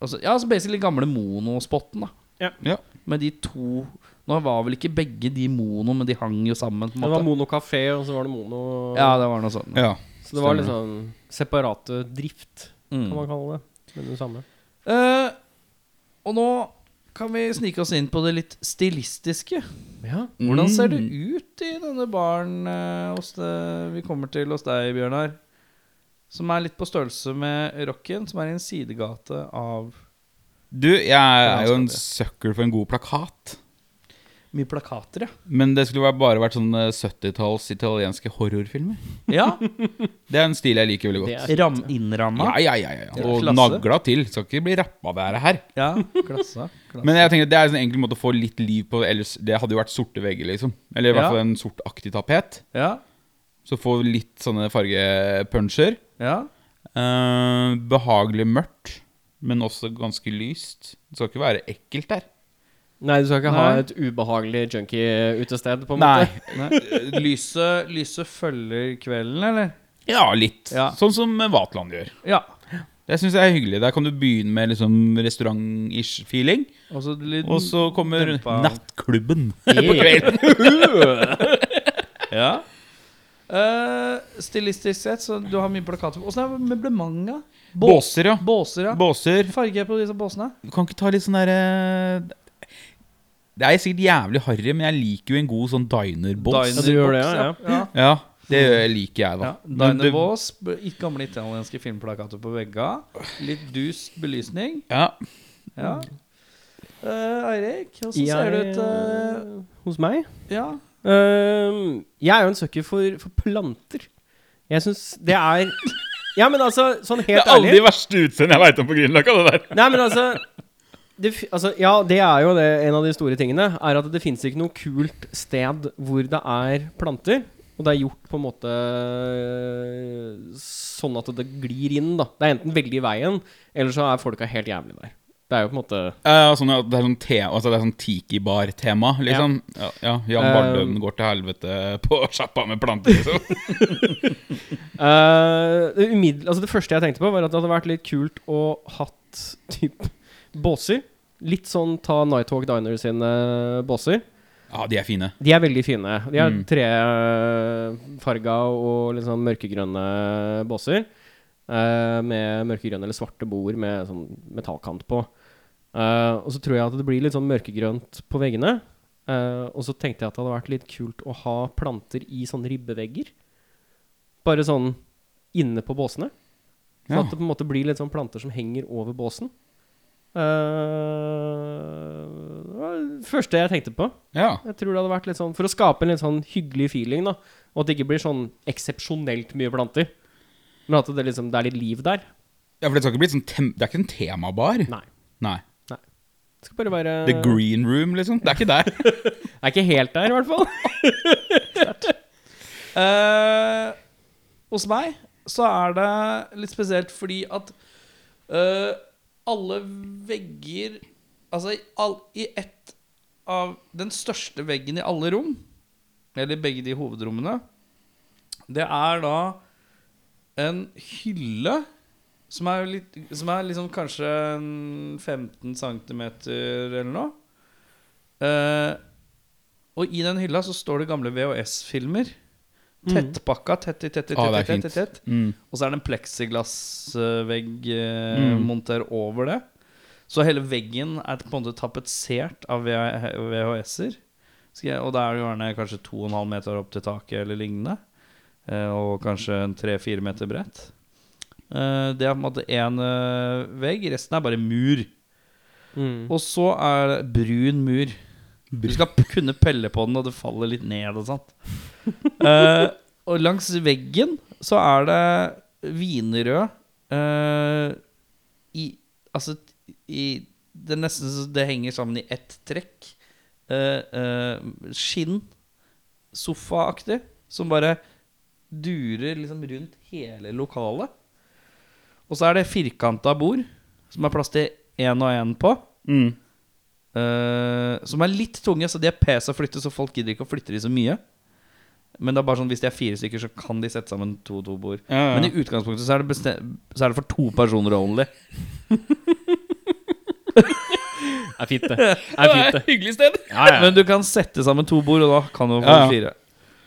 Speaker 2: Altså, ja, så basically gamle monospotten, da.
Speaker 1: Ja.
Speaker 3: Ja.
Speaker 2: Med de to Nå var vel ikke begge de mono, men de hang jo sammen. på en
Speaker 1: Det var
Speaker 2: måte
Speaker 1: Mono Café, og så var det Mono
Speaker 2: Ja, det var noe sånt.
Speaker 3: ja.
Speaker 1: Så det var
Speaker 3: stemmer.
Speaker 1: liksom separate drift,
Speaker 2: Mm.
Speaker 1: kan man kalle det. Men det samme.
Speaker 2: Eh, og nå kan vi snike oss inn på det litt stilistiske.
Speaker 1: Ja.
Speaker 2: Hvordan ser det
Speaker 3: Mm.
Speaker 2: ut i denne baren eh, hos det, vi kommer til hos deg, Bjørnar? Som er litt på størrelse med Rocken, som er i en sidegate av
Speaker 3: Du, jeg er jo en sucker for en god plakat.
Speaker 2: mye plakater, ja.
Speaker 3: Men det skulle vært- bare vært sånn 70-talls italienske horrorfilmer.
Speaker 2: ja
Speaker 3: Det er en stil jeg liker veldig
Speaker 1: Det
Speaker 3: godt.
Speaker 1: er
Speaker 2: ram,
Speaker 3: Ja,
Speaker 2: innramma.
Speaker 3: ja, ja, ja, ja.
Speaker 2: Det er
Speaker 3: Og
Speaker 2: klasse.
Speaker 3: nagla til. Skal ikke bli rappa det her.
Speaker 2: Ja, klassa. klassa.
Speaker 3: Men jeg tenker at det er en enkel måte å få litt liv på, ellers det hadde jo vært sorte vegger, liksom. Eller i hvert
Speaker 2: Ja.
Speaker 3: fall en sortaktig tapet.
Speaker 2: ja,
Speaker 3: Så få litt sånne fargepuncher.
Speaker 2: ja.
Speaker 3: Eh, behagelig mørkt, men også ganske lyst. Det skal ikke være ekkelt der.
Speaker 1: Nei, du skal ikke ha
Speaker 2: Nei.
Speaker 1: et ubehagelig junkie-utested, på en
Speaker 3: Nei.
Speaker 1: måte.
Speaker 2: Nei. Lyset, lyset følger kvelden, eller?
Speaker 3: Ja, litt.
Speaker 2: Ja.
Speaker 3: Sånn som Vatland gjør.
Speaker 2: Ja.
Speaker 3: Det syns jeg er hyggelig. Der kan du begynne med liksom restaurant-ish feeling,
Speaker 2: Og så litt
Speaker 3: og så kommer
Speaker 2: Dempa.
Speaker 3: nattklubben på kvelden.
Speaker 2: Ja. Eh, stilistisk sett, så du har mye plakater. Åssen er det med møblementet?
Speaker 3: Båser, ja.
Speaker 2: Båser, ja.
Speaker 3: Båser.
Speaker 2: Farge på disse båsene?
Speaker 3: Du kan ikke ta litt sånn derre Det er sikkert jævlig harry, men jeg liker jo en god sånn diner-bås.
Speaker 1: Ja, du gjør det, ja,
Speaker 2: Dinerbox, ja. ja.
Speaker 3: Ja, det liker jeg, da.
Speaker 2: Ja,
Speaker 3: Men det-
Speaker 2: Dinerbås, gamle italienske filmplakater på veggene. Litt dust belysning.
Speaker 3: Ja.
Speaker 2: Ja. Eh, Eirik, åssen
Speaker 1: Jeg-
Speaker 2: ser det ut eh,
Speaker 1: Hos meg?
Speaker 2: Ja.
Speaker 1: Ehm, jeg er jo en søker for, for planter. Jeg syns det er Ja, men altså, sånn
Speaker 5: Det
Speaker 1: helt
Speaker 5: er alle de
Speaker 1: ærlig
Speaker 5: verste utseendene jeg veit om på Grünerløkka. det der.
Speaker 1: Nei, men altså, det, fi- altså Ja, det er jo det, en av de store tingene. Er at det fins ikke noe kult sted hvor det er planter. Og det er gjort på en måte øh, sånn at det glir inn, da. Det er enten veldig i veien, eller så er folka helt jævlig der. Det er jo på en måte
Speaker 3: Ja, sånn at det er sånn, te- altså det er sånn tiki-bar-tema, liksom. Ja. Ja, Jan Bardøen
Speaker 2: Eh.
Speaker 1: Um,
Speaker 3: går til helvete på sjappa med planter, liksom.
Speaker 1: Eh, det, umiddel, altså det første jeg tenkte på, var at det hadde vært litt kult å hatt typ båser. Litt sånn ta Nighthawk Diner sine båser.
Speaker 3: Ja, de er fine.
Speaker 1: De er veldig fine. De er
Speaker 3: Mm.
Speaker 1: trefarga og litt sånn mørkegrønne båser. eh, med mørkegrønne eller svarte bord med sånn metallkant på. Eh, og så tror jeg at det blir litt sånn mørkegrønt på veggene. Eh, og så tenkte jeg at det hadde vært litt kult å ha planter i sånne ribbevegger. Bare sånn inne på båsene. Sånn
Speaker 3: Ja.
Speaker 1: at det på en måte blir litt sånn planter som henger over båsen. Eh, det var det første jeg tenkte på.
Speaker 3: Ja.
Speaker 1: Jeg tror det hadde vært litt sånn For å skape en litt sånn hyggelig feeling, da. Og at det ikke blir sånn eksepsjonelt mye planter. Men at det liksom Det er litt liv der.
Speaker 3: ja, for det skal ikke bli sånn tem Det er ikke en temabar.
Speaker 1: Nei.
Speaker 3: Nei.
Speaker 1: Det skal bare være
Speaker 3: The green room, liksom. Det er ikke der.
Speaker 1: Det er ikke helt der, i hvert fall.
Speaker 2: Eh, hos meg så er det litt spesielt fordi at eh, alle vegger Altså i, all, i ett av Den største veggen i alle rom, eller begge de hovedrommene, det er da en hylle som er, litt, som er liksom kanskje en 15 cm eller noe. Eh, og i den hylla så står det gamle VHS-filmer. Tettpakka, tett i tett i
Speaker 3: Mm.
Speaker 2: tett, i
Speaker 3: Ah, det er
Speaker 2: tett, i
Speaker 3: fint.
Speaker 2: tett.
Speaker 3: Mm.
Speaker 2: Og så er det en pleksiglassvegg eh,
Speaker 3: Mm.
Speaker 2: monter over det. Så hele veggen er på en måte tapetsert av VHS-er. Skal jeg- Og da er det gjerne kanskje 2,5 meter opp til taket eller lignende. eh, Og kanskje en 3-4 meter bredt. Eh, Det er på en måte én vegg. Resten er bare mur.
Speaker 1: Mm.
Speaker 2: Og så er det brun mur. Du skal p- kunne pelle på den, og det faller litt ned og sånt. Eh, og langs veggen så er det wienerrød eh, i Altså i Det er nesten så det henger sammen i ett trekk. eh, eh, skinn, sofaaktig, som bare durer liksom rundt hele lokalet. Og så er det firkanta bord, som er plass til én og én på.
Speaker 3: Mm.
Speaker 2: eh, som er litt tunge, så de er pes å flytte, så folk gidder ikke å flytte de så mye. Men det er bare sånn, hvis de er fire stykker, så kan de sette sammen to og to bord.
Speaker 3: Ja, ja.
Speaker 2: Men i utgangspunktet så er det, beste- så er det for to personer only.
Speaker 1: er fint, det. Er fint, det.
Speaker 3: hyggelig sted.
Speaker 1: Ja, ja.
Speaker 2: Men du kan sette sammen to bord, og da kan du få
Speaker 3: Ja, ja.
Speaker 2: fire.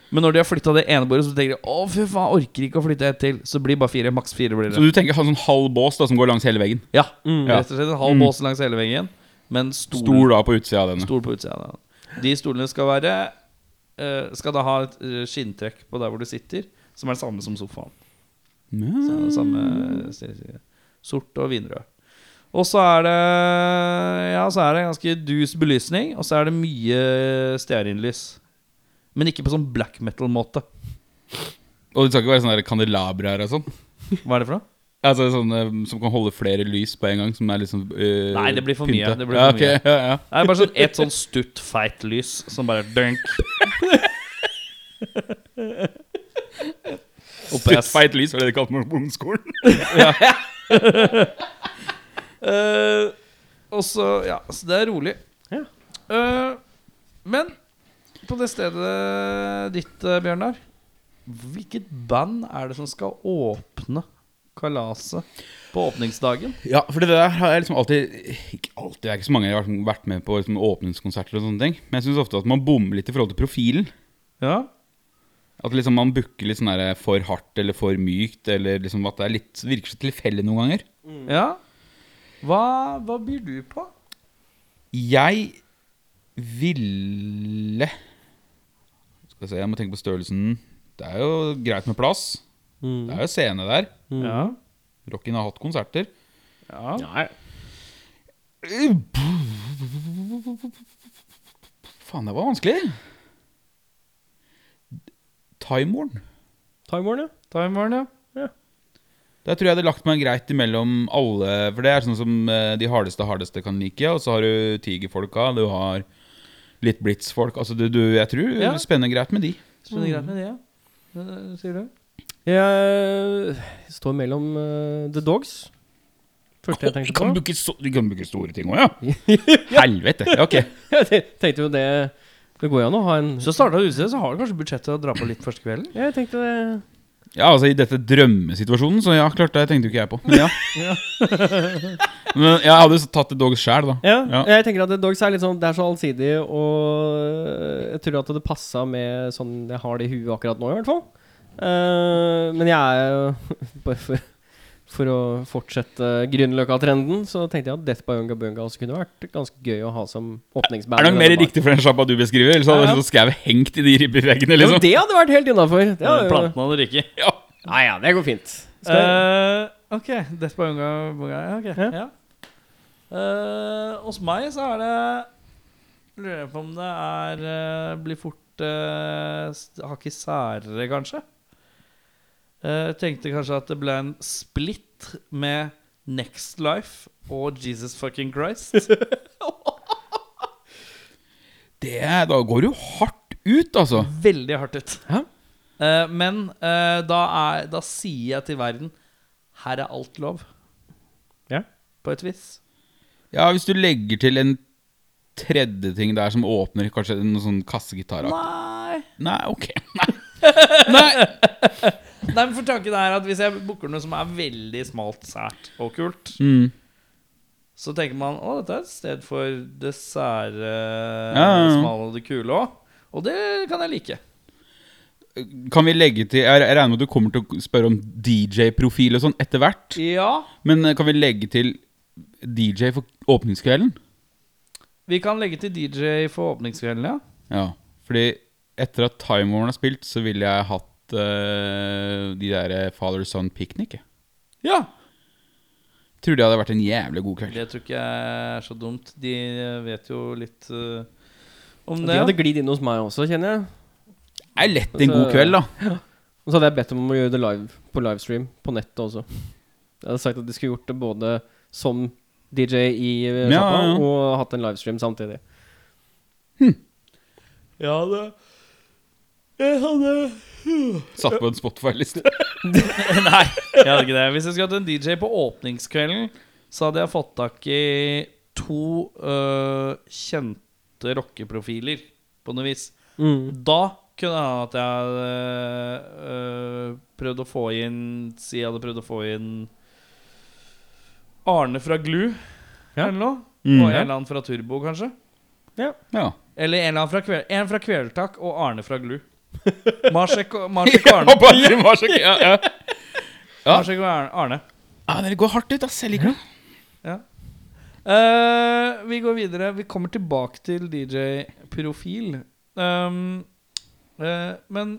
Speaker 2: Men når de har flytta det ene bordet, så tenker de å fy faen, orker ikke å flytte et til. Så blir det bare fire. Maks fire blir
Speaker 3: Så Mm.
Speaker 2: det.
Speaker 3: du tenker ha en sånn halv bås da som går langs hele veggen?
Speaker 2: Ja,
Speaker 3: Ja.
Speaker 2: Rett og slett en halv bås langs hele veggen, men stol,
Speaker 3: Stor da på utsida av denne.
Speaker 2: stol på utsida. Da. De stolene skal være eh, Skal da ha et eh, skinntrekk på der hvor du sitter, som er det samme som sofaen. Så er det samme stil- Sort og vinrød. Og så er det Ja, så er det ganske dus belysning, og så er det mye stearinlys. Men ikke på sånn black metal-måte.
Speaker 3: Og det skal ikke være sånne der kandelabraer og sånn?
Speaker 2: Hva er det for noe?
Speaker 3: Altså sånne um, Som kan holde flere lys på en gang? Som er liksom øh,
Speaker 2: Nei, det blir for mye,
Speaker 3: pynta.
Speaker 2: det blir
Speaker 3: ja,
Speaker 2: for mye.
Speaker 3: ok, Ja, ja.
Speaker 2: Nei, bare sånn ett sånn stutt, feit lys som bare dunk. Oppå jeg s-
Speaker 3: Stuttfeit lys, var det de kalte meg på ungskolen?
Speaker 2: Eh, og så Ja, så det er rolig.
Speaker 1: Ja.
Speaker 2: Eh, men på det stedet ditt, eh, Bjørnar Hvilket band er det som skal åpne kalaset på åpningsdagen?
Speaker 3: Ja, for det der har jeg liksom alltid Ikke alltid, det er ikke så mange jeg har vært med på liksom, åpningskonserter og sånne ting. Men jeg syns ofte at man bommer litt i forhold til profilen.
Speaker 2: Ja.
Speaker 3: At liksom man booker litt sånn der for hardt eller for mykt, eller liksom at det er litt, virker så tilfeldig noen ganger.
Speaker 2: ja. Hva, hva byr du på?
Speaker 3: Jeg ville Skal vi se, jeg må tenke på størrelsen. Det er jo greit med plass. Det er jo scene der.
Speaker 2: Ja.
Speaker 3: Rocken har hatt konserter.
Speaker 2: Mm. ja.
Speaker 1: Ja, ja.
Speaker 3: Faen, det var vanskelig. Timehorn.
Speaker 1: Time Warner.
Speaker 2: Timeren, ja.
Speaker 3: Der tror jeg det er lagt meg greit imellom alle. For det er sånn som eh, de hardeste hardeste kan like. Og så har du tigerfolka, du har litt blitz-folk. Altså, du, du, jeg tror
Speaker 2: Ja.
Speaker 3: det spenner greit med de.
Speaker 2: Spiller greit med det, ja. Eh, Sier du?
Speaker 1: Jeg står mellom eh, The Dogs. Første jeg tenkte på.
Speaker 3: bruke, så, du kan bruke store ting òg, ja. Helvete. ja, Ok.
Speaker 1: Jeg tenkte jo det Det går jo an å ha en
Speaker 2: Så starta utestedet, så har du kanskje budsjett til å dra på litt første kvelden?
Speaker 1: Jeg tenkte det
Speaker 3: Ja, altså i dette drømmesituasjonen, så ja, klart det tenkte jo ikke jeg på. Men ja. Men jeg hadde jo tatt det dog sjæl, da.
Speaker 1: ja,
Speaker 3: Ja.
Speaker 1: Jeg tenker at The Dogs er litt sånn Det er så allsidig, og jeg tror at det passa med sånn jeg har det i huet akkurat nå, i hvert fall. Eh, men jeg er jo Bare for, for å fortsette Grünerløkka-trenden, så tenkte jeg at Death by Unga Bunga også kunne vært ganske gøy å ha som åpningsband.
Speaker 3: Er
Speaker 1: i
Speaker 3: det nok
Speaker 1: denne
Speaker 3: mer
Speaker 1: baren.
Speaker 3: riktig for den sjappa du beskriver? Ellers
Speaker 1: Ja,
Speaker 3: hadde
Speaker 1: ja.
Speaker 3: jeg så skrevet hengt i de ribbeveggene,
Speaker 1: Jo,
Speaker 3: liksom.
Speaker 1: det hadde vært helt innafor.
Speaker 2: Planten hadde ryket.
Speaker 3: Ja.
Speaker 1: Nei ja, det går fint. Skal
Speaker 2: Eh, ok, Death by Unga Bunga. Ja, ok.
Speaker 1: Ja.
Speaker 2: Ja. Eh, hos meg så er det Lurer jeg på om det er eh, Blir fort uh, hakket særere, kanskje. Eh, tenkte kanskje at det ble en split med Next Life og Jesus fucking Christ.
Speaker 3: Det, da går du hardt ut, altså.
Speaker 2: Veldig hardt ut.
Speaker 1: Ja.
Speaker 2: Eh, men eh, da, er, da sier jeg til verden Her er alt lov.
Speaker 1: Ja.
Speaker 2: På et vis.
Speaker 3: Ja, hvis du legger til en tredje ting der som åpner kanskje noen sånn kassegitaraktig
Speaker 2: Nei
Speaker 3: Nei, ok.
Speaker 2: Nei, men for tanken er at Hvis jeg booker noe som er veldig smalt, sært og kult,
Speaker 3: Mm.
Speaker 2: så tenker man å, dette er et sted for det sære,
Speaker 3: ja, ja.
Speaker 2: smale og det kule òg. Og det kan jeg like.
Speaker 3: Kan vi legge til Jeg jeg regner med at du kommer til å spørre om DJ-profil og sånn etter hvert.
Speaker 2: Ja,
Speaker 3: Men eh, kan vi legge til DJ for åpningskvelden?
Speaker 2: vi kan legge til DJ for åpningskvelden, ja.
Speaker 3: Ja, fordi etter at Time Warner har spilt, så ville jeg hatt eh, de der Father Son Picnic. jeg.
Speaker 2: Ja,
Speaker 3: Tror det hadde vært en jævlig god kveld.
Speaker 2: Det tror ikke jeg er så dumt. De vet jo litt eh, om
Speaker 3: Mm,
Speaker 1: De
Speaker 2: det.
Speaker 1: hadde glidd inn hos meg også, kjenner jeg.
Speaker 3: Det er lett en
Speaker 2: Altså-
Speaker 3: god kveld, da.
Speaker 1: Og så hadde jeg bedt om å gjøre det live på livestream på nettet også. Jeg hadde sagt at de skulle gjort det både som DJ i eh,
Speaker 3: Ja,
Speaker 1: sjappa
Speaker 3: ja, ja.
Speaker 1: og hatt en livestream samtidig.
Speaker 2: Jeg hadde Jeg hadde
Speaker 3: Satt på en Spotify-liste.
Speaker 2: Nei, jeg hadde ikke det. Hvis jeg skulle hatt en DJ på åpningskvelden, så hadde jeg fått tak i to øh, kjente rockeprofiler, på noe vis.
Speaker 1: Mm.
Speaker 2: Da kunne jeg ha at jeg øh, øh, prøvd å få inn Si jeg hadde prøvd å få inn Arne fra Glu,
Speaker 1: Ja.
Speaker 2: eller noe.
Speaker 3: Mm.
Speaker 2: og en eller annen fra Turbo, kanskje.
Speaker 3: Ja.
Speaker 2: Eller en, eller annen fra kvel, en fra Kvelertak og Arne fra Glu. Marsek og, Marsek og
Speaker 3: Ja,
Speaker 2: Arne.
Speaker 3: bare, det var så gøy. ja, ja. Ja.
Speaker 2: Marsek og Arne- Arne.
Speaker 3: ja, dere går hardt ut, ass. Jeg liker det.
Speaker 2: Eh, vi går videre. Vi kommer tilbake til DJ-profil. Um, eh, men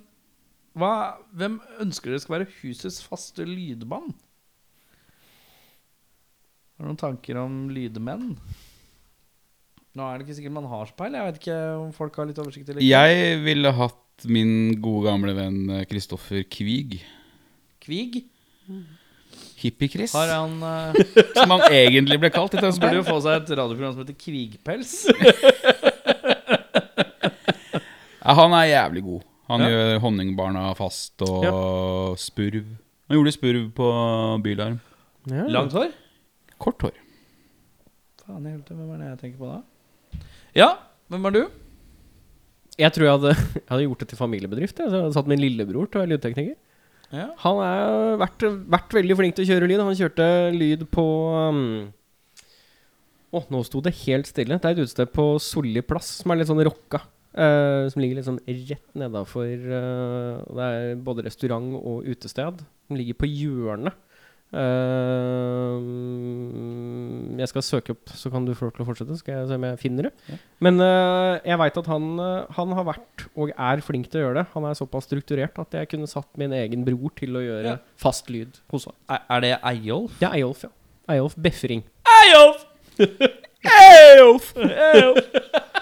Speaker 2: hva, hvem ønsker dere skal være husets faste lydmann? Har du noen tanker om lydmenn? Nå er det ikke sikkert man har så peil. Jeg vet ikke om folk har litt oversikt. Eller ikke.
Speaker 3: Jeg ville hatt min gode gamle venn eh, Kristoffer Kvig.
Speaker 2: Kvig?
Speaker 3: Hippie-Chris,
Speaker 2: Har
Speaker 3: som
Speaker 2: han eh,
Speaker 3: han egentlig ble kalt. etter
Speaker 2: Han
Speaker 3: hans
Speaker 2: burde
Speaker 3: burde
Speaker 2: jo få seg et radioprogram som heter Kvigpels.
Speaker 3: Ja, han er jævlig god. Han
Speaker 2: Ja.
Speaker 3: gjør honningbarna fast og spurv. Han gjorde spurv på Bylarm.
Speaker 1: Ja.
Speaker 2: Langt hår?
Speaker 3: Kort hår.
Speaker 2: Faen i helvete, hvem er det jeg tenker på da? Ja, hvem er du?
Speaker 1: Jeg tror jeg hadde, jeg hadde gjort det til familiebedrift. Jeg, så jeg hadde satt min lillebror til å være lydtekniker.
Speaker 2: Ja.
Speaker 1: Han har vært, vært veldig flink til å kjøre lyd. Han kjørte lyd på um, Å, nå sto det helt stille. Det er et utested på Solli plass som er litt sånn rocka. eh, som ligger litt sånn rett nedafor eh, Det er både restaurant og utested. Den ligger på hjørnet. Eh, jeg skal søke opp, så kan du få lov til å fortsette. Så skal jeg se om jeg finner det. Men eh, jeg veit at han, eh, han har vært og er flink til å gjøre det. Han er såpass strukturert at jeg kunne satt min egen bror til å gjøre
Speaker 2: Ja.
Speaker 1: fast lyd hos han.
Speaker 2: Er, er det Eyolf?
Speaker 1: Det er Eyolf, ja. Eyolf Befring.
Speaker 2: Eyolf! Eyolf!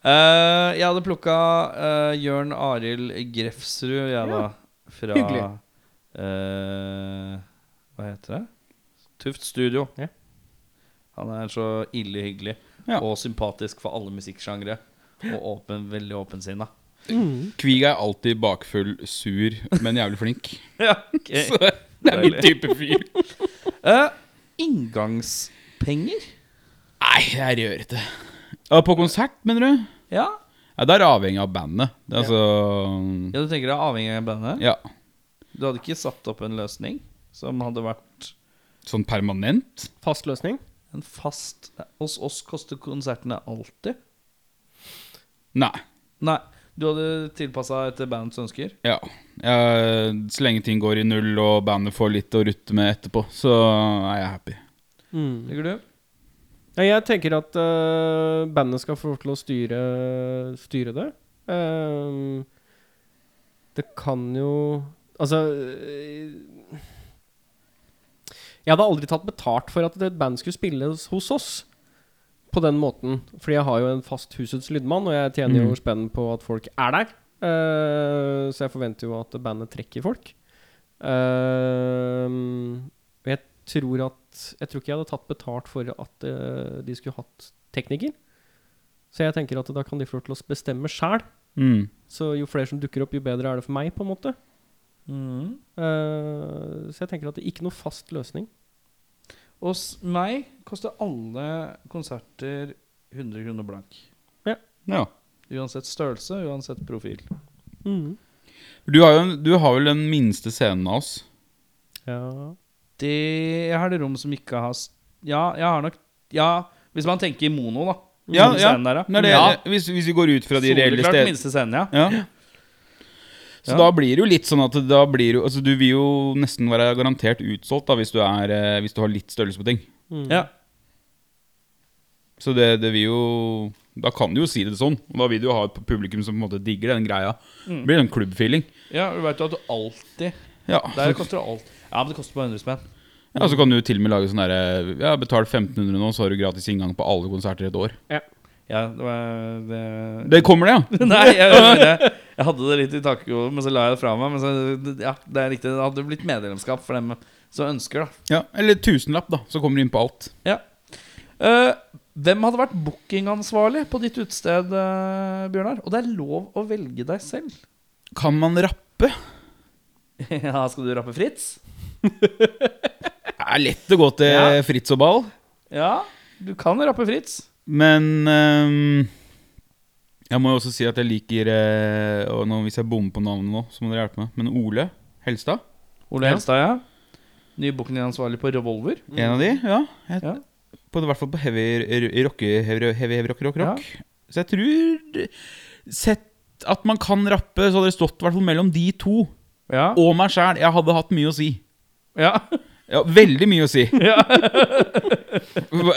Speaker 2: Eh, jeg hadde plukka eh, Jørn Arild Grefsrud, jeg da. Fra
Speaker 1: hyggelig.
Speaker 2: eh, Hva heter det? Tufft Studio.
Speaker 1: Ja.
Speaker 2: Han er så ille hyggelig
Speaker 3: Ja.
Speaker 2: og sympatisk for alle musikksjangre. Og åpen, veldig åpensinna.
Speaker 3: Kvig er alltid bakfull, sur, men jævlig flink.
Speaker 2: Ja, okay.
Speaker 3: Så det er min type fyr.
Speaker 2: Eh, inngangspenger?
Speaker 3: Nei, jeg er rørete. Ja, på konsert, mener du?
Speaker 2: Ja.
Speaker 3: Ja, det er avhengig av bandet. Det er altså
Speaker 2: ja. Du tenker det er avhengig av bandet?
Speaker 3: Ja.
Speaker 2: Du hadde ikke satt opp en løsning som hadde vært
Speaker 3: Sånn permanent.
Speaker 1: Fast løsning.
Speaker 2: en fast Hos oss koster konsertene alltid.
Speaker 3: Nei.
Speaker 2: Nei. Du hadde tilpassa etter bandets ønsker?
Speaker 3: Ja. Jeg, så lenge ting går i null og bandet får litt å rutte med etterpå, så er jeg happy.
Speaker 2: Ligger du?
Speaker 1: Ja, jeg tenker at øh, bandet skal få lov til å styre, styre det. Ehm, det kan jo Altså øh, Jeg hadde aldri tatt betalt for at et band skulle spille hos- hos oss. På den måten. Fordi jeg har jo en fast husets lydmann, og jeg tjener jo
Speaker 3: Mm.
Speaker 1: spenn på at folk er der. Ehm, så jeg forventer jo at bandet trekker folk. Ehm, og jeg tror at Jeg tror ikke jeg hadde tatt betalt for at eh, de skulle hatt tekniker. Så jeg tenker at da kan de få lov til å bestemme sjæl.
Speaker 3: Mm.
Speaker 1: Så jo flere som dukker opp, jo bedre er det for meg, på en måte.
Speaker 2: Mm.
Speaker 1: Eh, så jeg tenker at det er ikke noe fast løsning.
Speaker 2: Hos meg koster alle konserter 100 kroner blank.
Speaker 3: Ja.
Speaker 2: Uansett størrelse, uansett profil.
Speaker 1: Mm.
Speaker 3: Du har, jo en, du har vel den minste scenen av oss.
Speaker 1: Ja.
Speaker 2: Det jeg har det rom som ikke har s- Ja, jeg har nok Ja, hvis man tenker i mono, da.
Speaker 3: Ja,
Speaker 2: Mono
Speaker 3: ja.
Speaker 2: scenen Der,
Speaker 3: Nei, det,
Speaker 2: ja.
Speaker 3: Hvis, hvis vi går ut fra de reelle
Speaker 2: Soleklart
Speaker 3: stedene.
Speaker 2: minste scenen, ja.
Speaker 3: Ja. Så
Speaker 2: Ja.
Speaker 3: da blir det jo litt sånn at da blir jo, altså, du vil jo nesten være garantert utsolgt da, hvis, du er, eh, hvis du har litt størrelse på ting.
Speaker 2: ja.
Speaker 3: Så det, det vil jo Da kan du jo si det sånn. Og da vil du jo ha et publikum som på en måte digger den greia. Det blir sånn klubbfeeling.
Speaker 2: Ja, du veit jo at du alltid
Speaker 3: Ja.
Speaker 2: Der
Speaker 3: Så,
Speaker 2: koster det alt. Ja, men det koster bare 100 spenn.
Speaker 3: ja, så kan du til og med lage sånn derre Ja, betal 1500 nå, så har du gratis inngang på alle konserter i et år.
Speaker 2: Ja, det var det...
Speaker 3: Det kommer, det, ja!
Speaker 2: Nei, jeg, jeg, jeg hadde det litt i takkehodet, men så la jeg det fra meg. Men så, ja, det er riktig. Det hadde blitt medlemskap for dem som ønsker, da.
Speaker 3: ja. Eller tusenlapp, da. Så kommer du inn på alt.
Speaker 2: Eh, Hvem hadde vært bookingansvarlig på ditt utested, eh, Bjørnar? Og det er lov å velge deg selv.
Speaker 3: Kan man rappe?
Speaker 2: ja, skal du rappe Fritz?
Speaker 3: Det er lett å gå til
Speaker 2: Ja.
Speaker 3: Fritz og Ball,
Speaker 2: Ja, du kan rappe Fritz.
Speaker 3: men ehm, Jeg må jo også si at jeg liker eh, og nå, Hvis jeg bommer på navnet nå, så må dere hjelpe meg. Men Ole Helstad,
Speaker 2: Ole
Speaker 1: Ja.
Speaker 2: Helstad, ja. Ny bookingansvarlig på Revolver.
Speaker 3: en av de. Ja. Jeg,
Speaker 2: Mm. Ja.
Speaker 3: På, I hvert fall på heavy r- rock, heavy, heavy, heavy rock, rock, rock. Så jeg tror Sett at man kan rappe, så hadde det stått i hvert fall mellom de to
Speaker 2: Ja.
Speaker 3: og meg sjæl. Jeg hadde hatt mye å si.
Speaker 2: ja.
Speaker 3: Ja, veldig mye å si.
Speaker 2: Ja.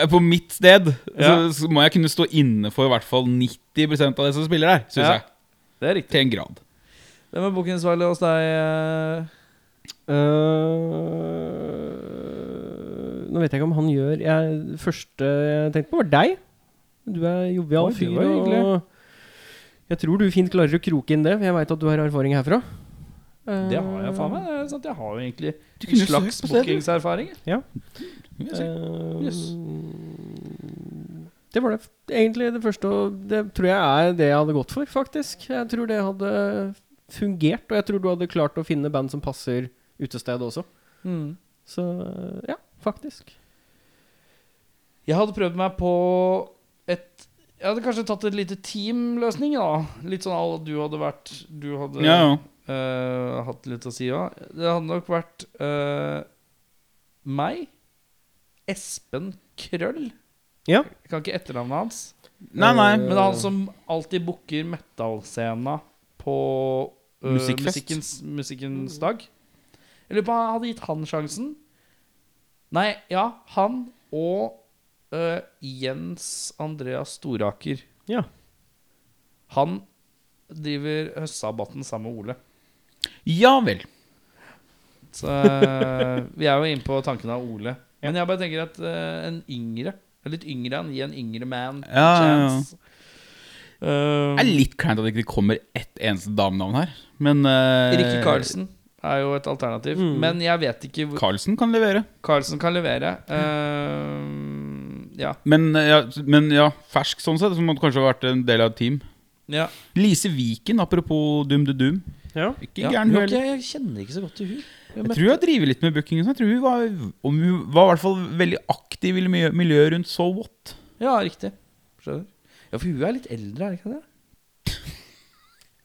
Speaker 3: På mitt sted
Speaker 2: Ja.
Speaker 3: så, så må jeg kunne stå inne for i hvert fall 90 av det som spiller der, syns
Speaker 2: Ja.
Speaker 3: jeg.
Speaker 2: Det er riktig.
Speaker 3: Til en grad.
Speaker 2: Hvem er bookingansvarlig hos deg? eh?
Speaker 1: Øh, Eh, nå vet jeg ikke om han gjør jeg, Første jeg tenkte på, var deg. Du er jovial
Speaker 2: Oi, det
Speaker 1: fyr.
Speaker 2: var hyggelig.
Speaker 1: Og jeg tror du fint klarer å kroke inn det, for jeg veit at du har erfaring herfra.
Speaker 2: Det har jeg faen meg. Det er sant, Jeg har jo egentlig en
Speaker 3: kunne
Speaker 2: slags
Speaker 3: søkt på stedet.
Speaker 2: bookingserfaring. jeg.
Speaker 1: Eh,
Speaker 2: Yes.
Speaker 1: Det var det f- egentlig det første, og det tror jeg er det jeg hadde gått for, faktisk. Jeg tror det hadde fungert, og jeg tror du hadde klart å finne band som passer utestedet også.
Speaker 2: Mm.
Speaker 1: Så ja, faktisk.
Speaker 2: Jeg hadde prøvd meg på et Jeg hadde kanskje tatt et lite teamløsning, da. Litt sånn à la du hadde vært Du hadde
Speaker 3: Ja, ja.
Speaker 2: eh, hatt litt å si, ja. Det hadde nok vært eh, meg, Espen Krøll
Speaker 1: Ja.
Speaker 2: Jeg kan ikke etternavnet hans.
Speaker 3: Nei, nei.
Speaker 2: Men det er han som alltid booker metal-scena på øh,
Speaker 3: Musikkfest.
Speaker 2: musikkens, musikkens dag. Jeg lurer på om han hadde gitt han sjansen. Nei, ja, han og øh, Jens Andreas Storaker.
Speaker 1: Ja.
Speaker 2: Han driver Høstsabbaten sammen med Ole.
Speaker 3: ja vel.
Speaker 2: Så øh, vi er jo inne på tanken av Ole. Men jeg bare tenker at øh, en yngre en Litt yngre enn gi en yngre man
Speaker 3: Ja, ja, ja.
Speaker 2: chance. Øh,
Speaker 3: Det er litt kleint at det ikke kommer ett eneste damenavn her, men eh,
Speaker 2: Ricky Carlsen er jo et alternativ.
Speaker 1: Mm.
Speaker 2: Men jeg vet ikke hvor
Speaker 3: Carlsen kan levere.
Speaker 2: Carlsen kan levere.
Speaker 3: Mm.
Speaker 2: Eh, ja.
Speaker 3: Men, eh, ja, men ja, fersk sånn sett, som måtte kanskje ha vært en del av et team.
Speaker 2: ja.
Speaker 3: Lise Viken, apropos Dum Du Dum.
Speaker 1: Ja.
Speaker 3: Ikke
Speaker 2: ja.
Speaker 3: gæren hun
Speaker 2: Jo,
Speaker 3: heller.
Speaker 2: ok, jeg kjenner ikke så godt til hun
Speaker 3: Jeg tror jeg driver litt med booking. og sånn. Jeg tror hun var, om hun var i hvert fall veldig aktiv i miljø- miljøet rundt So What.
Speaker 2: Ja, riktig. Skjønner. Ja, for hun er litt eldre, er hun ikke det?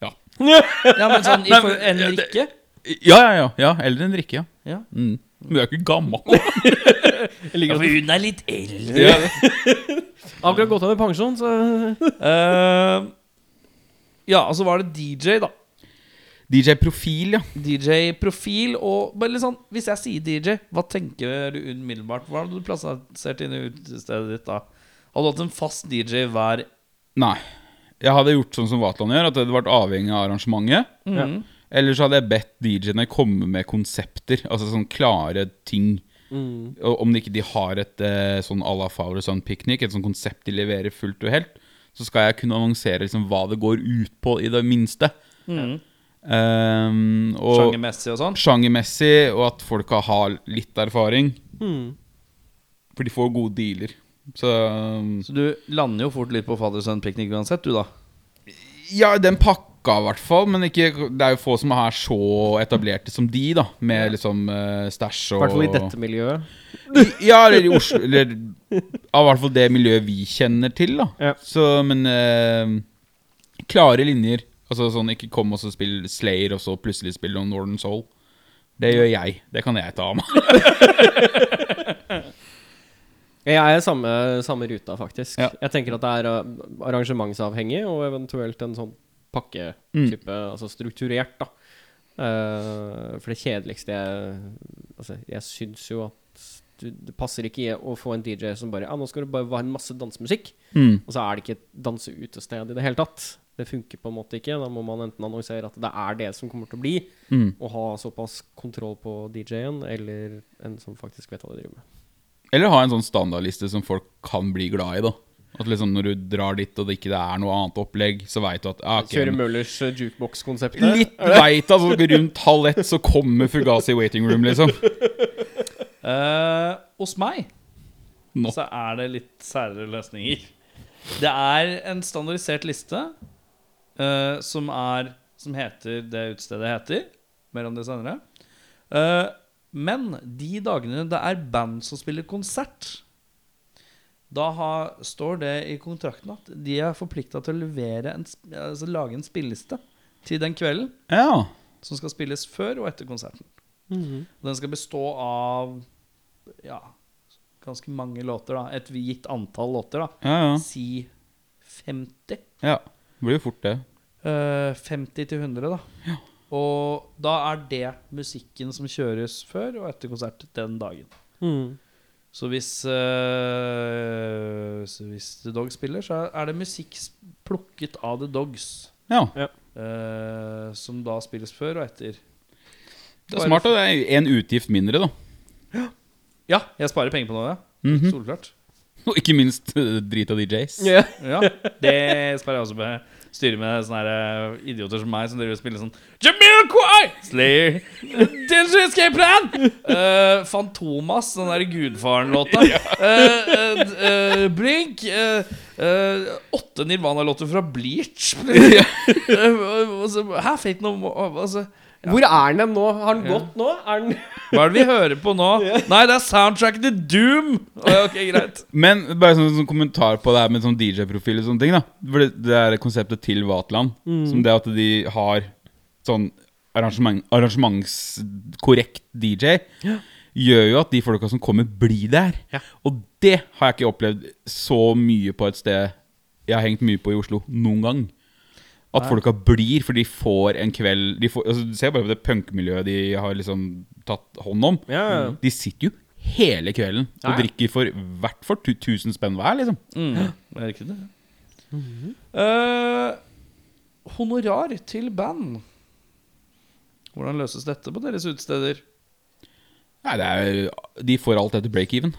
Speaker 3: Ja.
Speaker 2: ja, men sånn i
Speaker 3: Nei,
Speaker 2: for
Speaker 3: men-
Speaker 2: en
Speaker 3: ja, det-
Speaker 2: Rikke?
Speaker 3: Ja, ja, ja. ja Eldre enn Rikke, ja.
Speaker 2: Ja.
Speaker 3: Mm. Men du er jo ikke gammel.
Speaker 2: Ja, for hun er litt eldre.
Speaker 3: Ja.
Speaker 1: Akkurat gått av med pensjon, så
Speaker 2: Eh, ja, og så var det DJ, da.
Speaker 3: DJ Profil, ja.
Speaker 2: DJ-profil og bare litt sånn, Hvis jeg sier DJ, hva tenker du umiddelbart? Hva hadde du plassert inn i utestedet ditt da? Hadde du hatt en fast DJ hver
Speaker 3: Nei. Jeg hadde gjort sånn som Vatland gjør, at det hadde vært avhengig av arrangementet.
Speaker 2: Mhm.
Speaker 3: Eller så hadde jeg bedt DJ-ene komme med konsepter, altså sånn klare ting. Og om de ikke de har et eh, sånn à la Fowler Sun Picnic, et sånn konsept de leverer fullt og helt, så skal jeg kunne annonsere liksom hva det går ut på, i det minste.
Speaker 2: Mhm.
Speaker 3: Ehm, og
Speaker 2: Sjangermessig og sånn?
Speaker 3: sjangermessig, og at folk har litt erfaring.
Speaker 1: mm.
Speaker 3: For de får gode dealer. Så um,
Speaker 2: Så du lander jo fort litt på Father Son Picnic uansett, du, da.
Speaker 3: Ja, den pakka i hvert fall, men ikke, det er jo få som er så etablerte som de, da. Med liksom uh, stæsj
Speaker 1: I
Speaker 3: og
Speaker 1: hvert fall i dette miljøet.
Speaker 3: Ja, eller i Oslo Eller av hvert fall det miljøet vi kjenner til, da.
Speaker 1: Ja.
Speaker 3: Så, men eh, Klare linjer. Altså sånn ikke kom og så spill Slayer, og så plutselig spille om Northern Soul. Det gjør jeg. Det kan jeg ta av meg.
Speaker 1: Jeg er i samme, samme ruta, faktisk.
Speaker 3: Ja.
Speaker 1: Jeg tenker at det er uh, arrangementsavhengig, og eventuelt en sånn
Speaker 3: Mm.
Speaker 1: pakketype, altså strukturert, da. Eh, for det kjedeligste jeg Altså, jeg syns jo at du, det passer ikke i å få en DJ som bare Ja, nå skal det bare være en masse dansemusikk,
Speaker 3: Mm.
Speaker 1: og så er det ikke et danseutested i det hele tatt. Det funker på en måte ikke. Da må man enten annonsere at det er det som kommer til å bli,
Speaker 3: Mm.
Speaker 1: og ha såpass kontroll på DJ-en, eller en som faktisk vet hva de driver med.
Speaker 3: Eller ha en sånn standardliste som folk kan bli glad i, da. At liksom når du drar dit og det ikke er noe annet opplegg, så veit du at ah, ok,
Speaker 1: Kjøre
Speaker 3: men
Speaker 1: Møllers eh, jukebox-konseptet?
Speaker 3: Litt veit altså rundt halv ett så kommer Fugazi waiting room, liksom.
Speaker 2: Eh, hos meg
Speaker 3: Nå.
Speaker 2: så er det litt særere løsninger. Det er en standardisert liste eh, som, er, som heter det utestedet heter. Mer om det senere. Eh, men de dagene det er band som spiller konsert, da har, står det i kontrakten at de er forplikta til å levere en, sp- altså lage en spilleliste til den kvelden
Speaker 3: Ja.
Speaker 2: som skal spilles før og etter konserten. Den skal bestå av ja, ganske mange låter, da. Et gitt antall låter, da.
Speaker 3: Ja, ja.
Speaker 2: Si 50.
Speaker 3: ja. Det blir jo fort, det.
Speaker 2: Eh, 50 til 100, da. Og da er det musikken som kjøres før og etter konsert den dagen. Så hvis, eh, så hvis The Dogs spiller, så er det musikk s- plukket av The Dogs.
Speaker 3: Ja.
Speaker 2: eh, som da spilles før og etter.
Speaker 3: Det er smart, og det er én utgift mindre, da.
Speaker 2: Ja, jeg sparer penger på noe, ja.
Speaker 3: Mhm.
Speaker 2: Solklart.
Speaker 3: Og ikke minst eh, drit av DJs.
Speaker 1: Ja.
Speaker 2: Ja, det sparer jeg også med. Styrer med sånne her, eh, idioter som meg, som driver og spiller sånn Jamiroquai! Slayer! Danger Escape Plan! Eh, Fantomas, den derre Gudfaren-låta. Eh, eh, eh, Blink. eh, eh, åtte Nirvana-låter fra Bleach. Eh, altså, Hæ, Fate No More altså,
Speaker 1: Hvor er den nå? Har den gått nå? Er den
Speaker 2: Hva er det vi hører på nå? Nei, det er soundtracket til Doom! Å, Ok, greit.
Speaker 3: Men bare sånn, sånn kommentar på det her med sånn DJ-profil og sånne ting. da For det, det er konseptet til Vatland. Som det at de har sånn arrangement, arrangementskorrekt DJ, gjør jo at de folka som kommer, blir der. Og det har jeg ikke opplevd så mye på et sted jeg har hengt mye på i Oslo noen gang. At folka blir, for de får en kveld de får, altså, Du ser bare på det punkmiljøet de har liksom tatt hånd om. Mm.
Speaker 1: Ja, ja.
Speaker 3: De sitter jo hele kvelden og
Speaker 1: Ja, ja.
Speaker 3: drikker for hvert for tu- 1000 spenn hver, liksom.
Speaker 2: Mm. Det er riktig, det. Eh, honorar til band. Hvordan løses dette på deres utesteder?
Speaker 3: Nei, det er, de får alt etter break-even.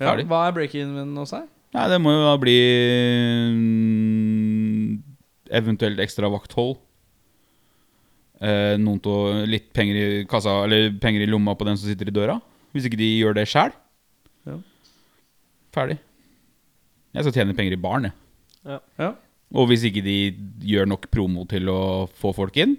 Speaker 2: Ja,
Speaker 3: Ferdig.
Speaker 2: hva er break-in-en hos deg?
Speaker 3: Nei, det må jo da bli mm, eventuelt ekstra vakthold. Eh, noen til å- litt penger i kassa Eller penger i lomma på den som sitter i døra. Hvis ikke de gjør det sjæl.
Speaker 2: Ja.
Speaker 3: Ferdig. Jeg skal tjene penger i baren, jeg.
Speaker 2: Ja.
Speaker 3: Og hvis ikke de gjør nok promo til å få folk inn,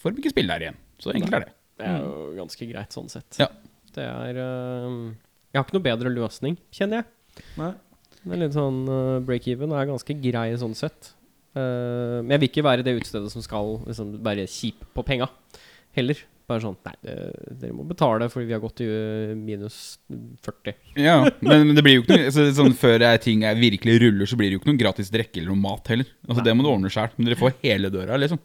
Speaker 3: får de ikke spille der igjen. Så enkelt er det.
Speaker 1: Det er jo ganske greit sånn sett.
Speaker 3: Ja.
Speaker 1: Det er øhm, Jeg har ikke noe bedre løsning, kjenner jeg.
Speaker 2: Nei.
Speaker 1: Det er litt sånn øh, Break-even er ganske grei sånn sett. Eh, men jeg vil ikke være det utestedet som skal liksom, være kjip på penga heller. Bare sånn Nei, det, dere må betale fordi vi har gått i øh, minus 40.
Speaker 3: Ja, men, men det blir jo ikke noe altså, sånn, Før eh, ting er virkelig ruller, så blir det jo ikke noe gratis drikke eller noe mat heller. Altså, det må du ordne sjæl. Men dere får hele døra, liksom.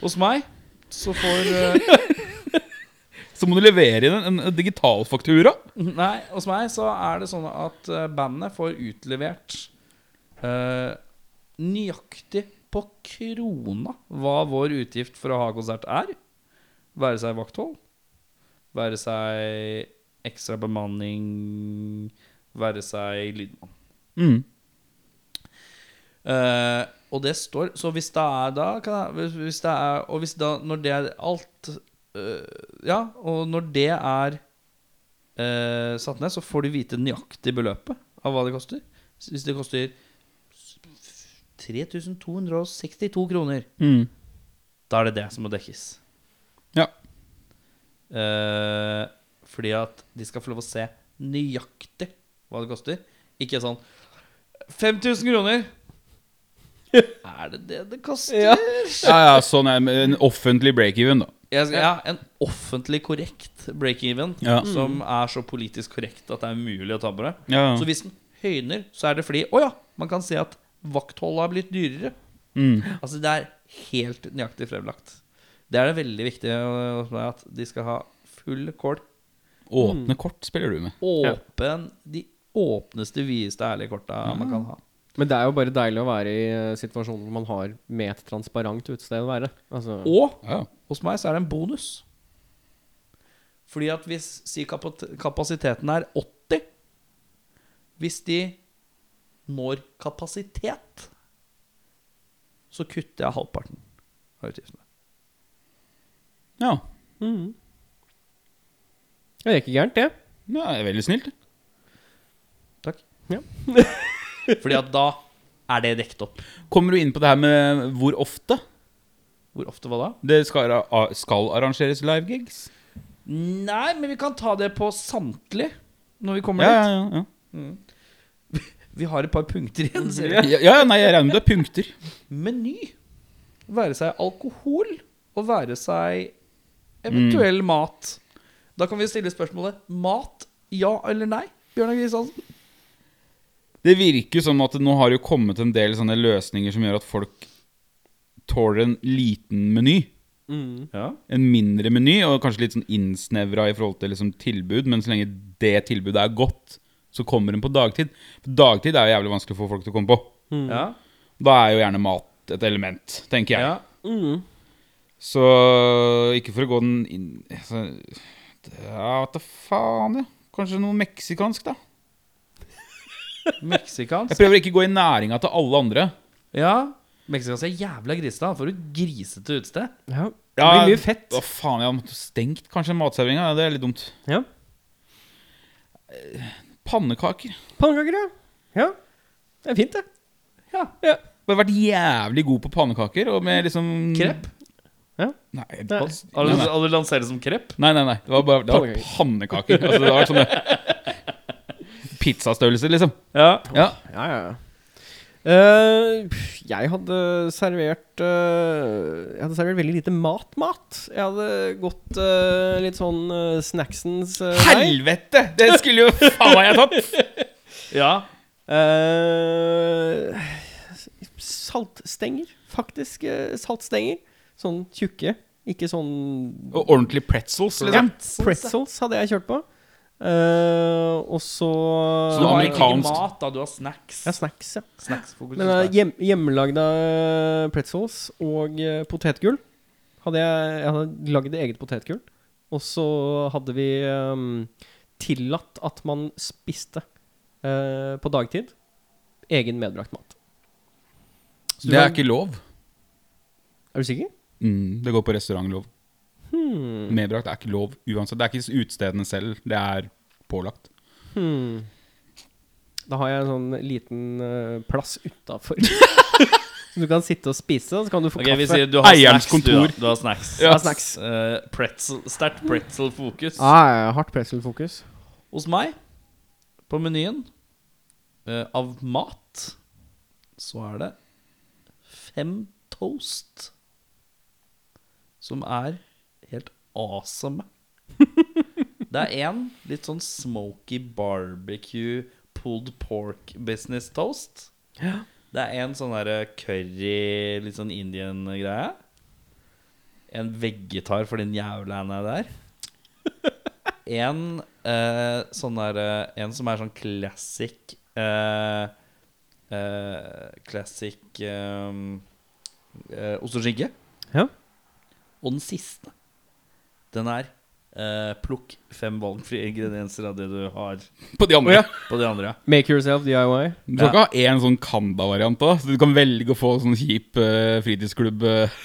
Speaker 2: Hos meg så får eh,
Speaker 3: Så må du levere inn en, en digital faktura.
Speaker 2: Nei, hos meg så er det sånn at eh, bandet får utlevert eh, nøyaktig på krona hva vår utgift for å ha konsert er. Være seg vakthold, være seg ekstra bemanning, være seg lydmann.
Speaker 3: Mm.
Speaker 2: Eh, og det står Så hvis det er da kan jeg, hvis, hvis det er, Og hvis da Når det er alt eh, Ja, og når det er eh, satt ned, så får du vite nøyaktig beløpet av hva det koster. Så Hvis det koster 3262 kroner,
Speaker 3: Mm.
Speaker 2: da er det det som må dekkes.
Speaker 3: Ja.
Speaker 2: Eh, fordi at de skal få lov å se nøyaktig hva det koster. Ikke sånn 5000 kroner! er det det det koster?
Speaker 3: ja, ja, sånn er men en offentlig break-even, da.
Speaker 2: Jeg skal, ja, en offentlig korrekt break-even
Speaker 3: Ja.
Speaker 2: som er så politisk korrekt at det er umulig å ta på det.
Speaker 3: Ja,
Speaker 2: Så hvis den høyner, så er det fordi Å ja, man kan si at vaktholdet har blitt dyrere.
Speaker 3: mm.
Speaker 2: Altså Det er helt nøyaktig fremlagt. Det er det veldig viktig øh, hos meg at de skal ha full kål.
Speaker 3: Åpne kort spiller du med.
Speaker 2: Åpen De åpneste, videste, ærlige korta man kan ha.
Speaker 1: Men det er jo bare deilig å være i øh, situasjonen hvor man har med et transparent utested å være. Altså,
Speaker 2: Og
Speaker 3: Ja, ja.
Speaker 2: hos meg så er det en bonus. Fordi at hvis si kapat- kapasiteten er 80 Hvis de når kapasitet, så kutter jeg halvparten av utgiftene.
Speaker 3: ja.
Speaker 1: Det er ikke gærent, det.
Speaker 3: Ja, det er veldig snilt.
Speaker 4: Takk.
Speaker 1: Ja.
Speaker 4: Fordi at da er det dekt opp.
Speaker 3: Kommer du inn på det her med hvor ofte
Speaker 4: Hvor ofte var det?
Speaker 3: det skal, a- skal arrangeres livegigs?
Speaker 4: Nei, men vi kan ta det på samtlig når vi
Speaker 3: Ja,
Speaker 4: kommer
Speaker 3: ja,
Speaker 4: dit.
Speaker 3: ja,
Speaker 4: Vi har et par punkter igjen, ser
Speaker 3: ja.
Speaker 4: vi.
Speaker 3: ja. ja, ja, Nei, jeg regner med det er punkter.
Speaker 4: Meny. Være seg alkohol, og være seg eventuell mat. Da kan vi stille spørsmålet mat, ja eller nei? Bjørnar Kristiansen?
Speaker 3: Det virker jo som at det nå har jo kommet en del sånne løsninger som gjør at folk tåler en liten meny.
Speaker 1: Mm.
Speaker 4: Ja.
Speaker 3: En mindre meny, og kanskje litt sånn innsnevra i forhold til liksom tilbud, men så lenge det tilbudet er godt, så kommer den på dagtid. For dagtid er jo jævlig vanskelig for folk til å komme på.
Speaker 4: Ja.
Speaker 3: Da er jo gjerne mat et element, tenker jeg.
Speaker 4: Ja.
Speaker 1: Mm.
Speaker 3: Så ikke for å gå den inn altså, Ja, vet da faen, ja. Kanskje noe meksikansk, da. Jeg
Speaker 4: Meksikansk?
Speaker 3: prøver ikke å gå i næringa til alle andre.
Speaker 4: Ja. Meksikansk er jævla grisete. Han får et grisete utested.
Speaker 1: Ja. Det blir mye fett.
Speaker 3: Å faen, jeg måtte stengt kanskje matserveringa. Det er litt dumt.
Speaker 1: Ja.
Speaker 3: Pannekaker.
Speaker 1: Pannekaker, ja. ja. Det er fint, det.
Speaker 4: Ja.
Speaker 3: Bare vært jævlig god på pannekaker. Og med liksom
Speaker 4: Krepp?
Speaker 3: Nei, det
Speaker 1: Nei.
Speaker 3: pass-
Speaker 4: Alle,
Speaker 3: nei, nei.
Speaker 4: alle lanserer som krepp?
Speaker 3: nei, nei, nei. Det var bare det var
Speaker 1: Pannekaker.
Speaker 3: pannekaker. Altså, det var sånne pizzastørrelser, liksom.
Speaker 4: Ja.
Speaker 3: Ja.
Speaker 1: Ja, ja, ja. Eh, pff, jeg hadde servert eh, Jeg hadde servert veldig lite mat-mat. Jeg hadde gått eh, litt sånn eh, snacksens eh, vei.
Speaker 3: Helvete! Det skulle jo faen meg jeg tatt!
Speaker 4: ja.
Speaker 1: Eh, saltstenger, faktisk. eh, saltstenger. Sånn tjukke. Ikke sånn
Speaker 3: Og ordentlig pretzels, liksom.
Speaker 1: Pretzels hadde jeg kjørt på. Eh, og så
Speaker 3: Så
Speaker 4: Du har
Speaker 3: amerikan-
Speaker 4: egentlig ikke
Speaker 3: amerikansk.
Speaker 4: mat, da. Du har snacks.
Speaker 1: Ja, snacks, ja.
Speaker 4: Snacksfokus.
Speaker 1: Men eh, hjem, hjemmelagda eh, pretzels og eh, potetgull hadde jeg, jeg hadde lagd eget potetgull. Og så hadde vi eh, tillatt at man spiste eh, på dagtid egen medbrakt mat. Så du
Speaker 3: Det er
Speaker 1: kan-
Speaker 3: ikke lov.
Speaker 1: Er du sikker?
Speaker 3: Mm, det går på restaurantlov.
Speaker 1: Hmm.
Speaker 3: Medbrakt er ikke lov uansett. Det er ikke utstedene selv. Det er pålagt.
Speaker 1: Hmm. Da har jeg en sånn liten eh, plass utafor. så du kan sitte og spise, og så kan du få
Speaker 4: Ok, vi
Speaker 1: kaffe.
Speaker 4: sier du har
Speaker 3: Eierens
Speaker 4: snacks, du,
Speaker 3: kontor.
Speaker 4: da. Du har snacks.
Speaker 1: Ja, snacks.
Speaker 4: Eh, pretzel, sterkt pretzel-fokus.
Speaker 1: Ah, ja, ja, hardt pretzelfokus.
Speaker 4: Hos meg, på menyen, eh, av mat, så er det fem toast. Som er helt awesome. Det er én litt sånn smoky barbecue pulled pork business toast. Det er en sånn derre curry, litt sånn Indian-greie. En vegetar for den jævla henne der. En eh, sånn derre En som er sånn classic eh, eh, Classic eh, eh, ost og skinke.
Speaker 1: Ja.
Speaker 4: Og den siste, den er eh, plukk fem valgfrie ingredienser av det du har
Speaker 3: På de andre.
Speaker 4: på de andre.
Speaker 1: Make yourself DIY.
Speaker 3: Du kan ikke ha én sånn Kanda-variant òg. Du kan velge å få sånn kjip eh, fritidsklubb eh,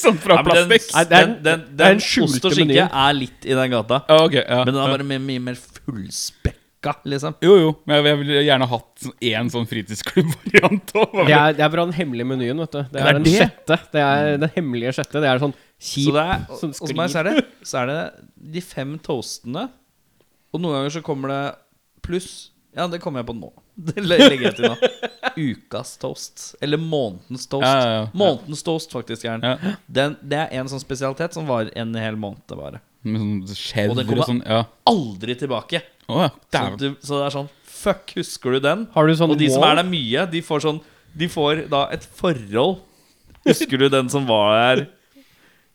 Speaker 3: sånn fra
Speaker 4: Ja, men
Speaker 3: plastikk.
Speaker 1: Nei,
Speaker 4: Den,
Speaker 1: det er
Speaker 4: den,
Speaker 1: en-
Speaker 4: den,
Speaker 1: det er en
Speaker 4: den ost og
Speaker 1: skjulte
Speaker 4: skinke
Speaker 1: meny.
Speaker 4: er litt i den gata.
Speaker 3: Ja, Ah, ok, ja.
Speaker 4: Men den er bare mye, mye mer fullspekka, liksom.
Speaker 3: Jo, jo. Men jeg, jeg ville gjerne hatt sånn- én sånn fritidsklubb-variant òg.
Speaker 1: Det er, det er fra den hemmelige menyen, vet du. Det er,
Speaker 3: er
Speaker 1: den
Speaker 3: det?
Speaker 1: sjette. Det er den hemmelige sjette. Det er sånn
Speaker 4: Så
Speaker 1: kjip
Speaker 4: det er, og,
Speaker 1: som
Speaker 4: og som er, så
Speaker 1: sklir.
Speaker 4: er det, så er det de fem toastene, og noen ganger så kommer det pluss Ja, det kommer jeg på nå. Det le- legger jeg til nå. Ukas toast. Eller månedens toast.
Speaker 3: Ja, ja, ja.
Speaker 4: Månedens toast, faktisk. Er den.
Speaker 3: Ja.
Speaker 4: Den, det er en sånn spesialitet som varer en hel måned. bare
Speaker 3: Med sånn skjev
Speaker 4: Og
Speaker 3: og,
Speaker 4: det kommer-
Speaker 3: sånn. Ja.
Speaker 4: Aldri tilbake.
Speaker 3: Å, ja.
Speaker 4: Så,
Speaker 3: Dæven.
Speaker 4: du, så det er sånn Fuck, husker du den?
Speaker 1: Har du sånn
Speaker 4: Og de som
Speaker 1: wall?
Speaker 4: er der mye, de får sånn De får da et forhold. Husker du den som var her?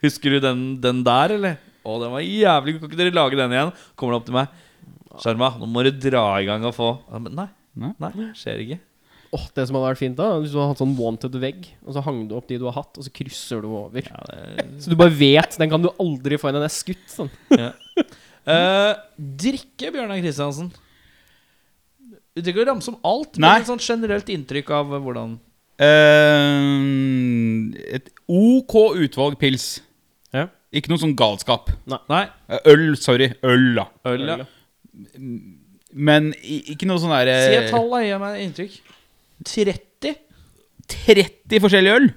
Speaker 4: Husker du den, den der, eller? Å, den var jævlig god. Kan ikke dere lage den igjen? Kommer det opp til meg. Sjarma, nå må du dra i gang og få ja, men Nei.
Speaker 3: Nei.
Speaker 4: Nei, skjer ikke.
Speaker 1: Åh, det som hadde vært fint, da Hvis du hadde hatt sånn wanted-vegg, og så hang du opp de du har hatt, og så krysser du over.
Speaker 4: Ja, det er-
Speaker 1: Så du bare vet. Den kan du aldri få igjen. Den er skutt, sånn.
Speaker 4: Eh, drikke, Bjørnar Kristiansen. Du trenger ikke å ramse om alt,
Speaker 3: Nei.
Speaker 4: men et sånt generelt inntrykk av hvordan
Speaker 3: Eh, et OK utvalg pils.
Speaker 1: Ja.
Speaker 3: Ikke noe sånn galskap.
Speaker 2: Nei.
Speaker 3: Eh, Øl, sorry. Øl, da.
Speaker 2: Øl, ja.
Speaker 3: Men i- ikke noe sånn derre
Speaker 2: Si et tall, da. Gi meg et inntrykk. 30?
Speaker 3: 30 forskjellige øl?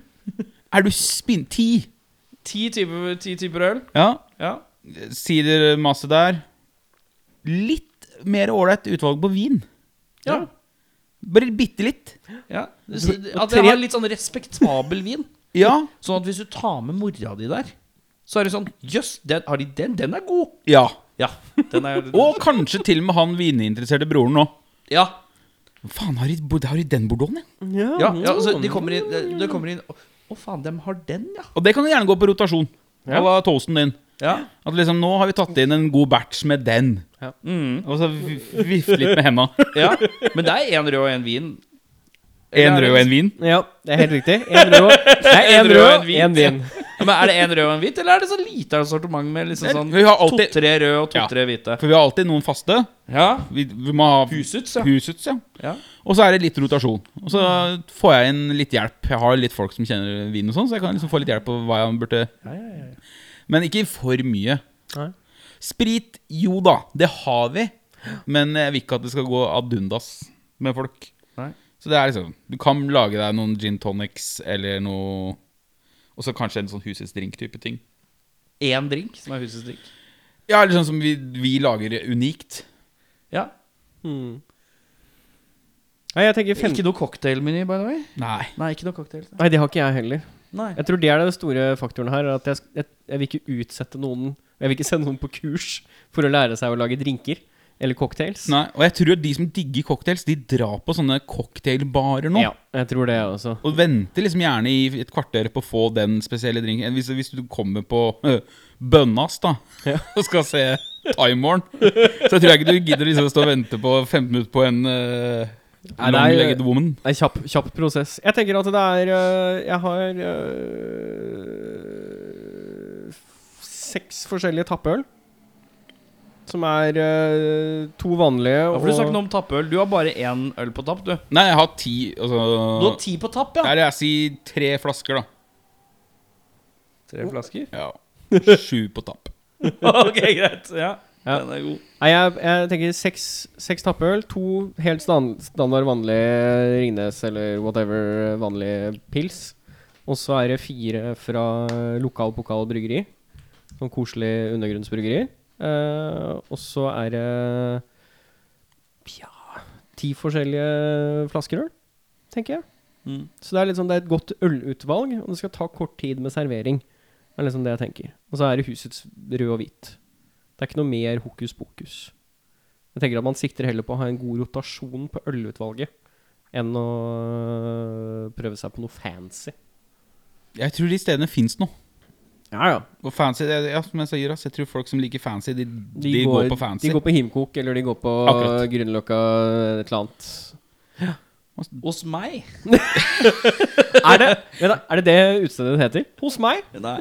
Speaker 3: Er du spinn... 10?
Speaker 2: Ti typer, ti typer øl?
Speaker 3: Ja.
Speaker 2: Ja.
Speaker 3: Sider masse der. Litt mer ålreit utvalg på vin.
Speaker 2: ja.
Speaker 3: Bare bitte litt.
Speaker 2: ja. At jeg har litt sånn respektabel vin.
Speaker 3: Ja.
Speaker 2: Sånn at hvis du tar med mora di der, så er det sånn Jøss, den, har de den? Den er god!
Speaker 3: Ja.
Speaker 2: Ja. Den er,
Speaker 3: Og kanskje til og med han vininteresserte broren nå.
Speaker 2: ja,
Speaker 3: Faen, har de, bo- har de den bordeauxen, ja?
Speaker 2: ja, ja så de kommer inn, det- det kommer inn Å, å faen, dem har den, ja.
Speaker 3: Og det kan du gjerne gå på rotasjon. Ja. À la toasten din.
Speaker 2: ja.
Speaker 3: At liksom, nå har vi tatt inn en god batch med den.
Speaker 1: Ja.
Speaker 3: Mm. Og så vi- vifte litt med henda.
Speaker 2: Ja, men det er én rød og én vin.
Speaker 3: En rød og en vin.
Speaker 1: Ja, det er helt riktig. En rød. Det er en rød, en vin.
Speaker 2: Ja, men Er det én rød og én hvit, eller er det sånn lite sortiment med liksom
Speaker 3: Nei,
Speaker 2: sånn
Speaker 3: vi har alltid-
Speaker 2: to-tre røde og
Speaker 3: Ja.
Speaker 2: to-tre hvite?
Speaker 3: For vi har alltid noen faste.
Speaker 2: Ja.
Speaker 3: Vi, vi må ha
Speaker 2: Husets, ja.
Speaker 3: Husets, ja.
Speaker 2: Ja.
Speaker 3: Og så er det litt rotasjon. Og så får jeg inn litt hjelp. Jeg har litt folk som kjenner vin og sånn, så jeg kan liksom få litt hjelp på hva jeg burde Men ikke for mye.
Speaker 1: Nei.
Speaker 3: Sprit, jo da, det har vi. Men jeg vil ikke at det skal gå ad undas med folk.
Speaker 2: Nei.
Speaker 3: Så det er liksom Du kan lage deg noen gin tonics eller noe Og så kanskje en sånn husets drink-type ting.
Speaker 2: Én drink, som er husets drink.
Speaker 3: Ja, eller sånn som vi, vi lager unikt.
Speaker 2: Ja.
Speaker 1: Hmm. Nei, jeg tenker fem...
Speaker 2: Ikke noe cocktailmeny, by the way.
Speaker 3: Nei.
Speaker 2: Nei, ikke noe cocktail.
Speaker 1: Nei, det har ikke jeg heller.
Speaker 2: Nei.
Speaker 1: Jeg tror det er den store faktoren her. At jeg, jeg, jeg vil ikke utsette noen Jeg vil ikke sende noen på kurs for å lære seg å lage drinker eller cocktails.
Speaker 3: Nei, og jeg tror at de som digger cocktails, de drar på sånne cocktailbarer nå.
Speaker 1: Ja, jeg tror det, altså. jeg også.
Speaker 3: Og venter liksom gjerne i et kvarter på å få den spesielle drinken. Hvis, hvis du kommer på øh, Bønnas, da, og skal se Timeren, så tror jeg ikke du gidder liksom å stå og vente på 15 minutter på en øh,
Speaker 1: Nei, det er-
Speaker 3: long-legged woman.
Speaker 1: Det er en kjapp, kjapp prosess. Jeg tenker at det er øh, Jeg har øh, f- seks forskjellige tappøl. Som er øh, to vanlige
Speaker 2: Da får du snakke noe om tappøl. Du har bare én øl på tapp, du.
Speaker 3: Nei, jeg har ti altså,
Speaker 2: Du har ti på tapp, ja.
Speaker 3: Eller jeg sier tre flasker, da.
Speaker 2: Tre flasker.
Speaker 3: Ja. Sju på tapp.
Speaker 2: ok, greit. Ja.
Speaker 1: Ja.
Speaker 2: Den er god.
Speaker 1: Nei, jeg, jeg tenker seks, seks tappøl, to helt stan- standard vanlige Ringnes eller whatever vanlige pils. Og så er det fire fra lokal pokal bryggeri. Sånn koselig undergrunnsbryggeri. Eh, og så er det ja, ti forskjellige flasker øl, tenker jeg.
Speaker 2: Mm.
Speaker 1: Så det er litt sånn, det er et godt ølutvalg, og det skal ta kort tid med servering. Det er liksom det jeg tenker. Og så er det husets rød og hvit. Det er ikke noe mer hokus pokus. Jeg tenker at man sikter heller på å ha en god rotasjon på ølutvalget enn å øh, prøve seg på noe fancy.
Speaker 3: Jeg tror de stedene fins nå.
Speaker 1: Ja, ja.
Speaker 3: Og fancy, ja, som jeg sier, ass, jeg tror folk som liker fancy, de, de,
Speaker 1: De,
Speaker 3: går, på fancy.
Speaker 1: De går på Himkok, eller de går på
Speaker 3: Akkurat.
Speaker 1: Grünerløkka, et eller annet.
Speaker 2: Hos meg?
Speaker 1: Er det, vent da, er det det utstedet heter? Hos meg?
Speaker 2: Nei.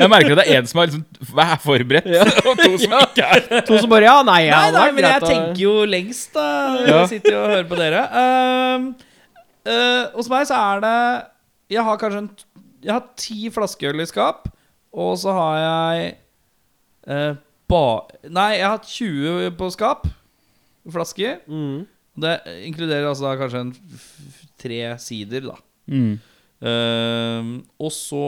Speaker 3: Jeg merker at det er en som er liksom, er forberedt, og to som ikke er
Speaker 1: To som bare Ja, nei, ja,
Speaker 2: Nei,
Speaker 1: det
Speaker 2: nei,
Speaker 1: er
Speaker 2: men jeg
Speaker 1: greit å-
Speaker 2: tenker jo lengst, da. når Jeg sitter jo og hører på dere. Ehm, eh, hos meg så er det Jeg har kanskje en t- Jeg har ti flaskeøl i skap, og så har jeg eh, ba... Nei, jeg har 20 på skap. Flasker.
Speaker 1: Mm.
Speaker 2: Det inkluderer altså da kanskje en f- f- tre sider, da.
Speaker 3: Mm,
Speaker 2: Ehm, og så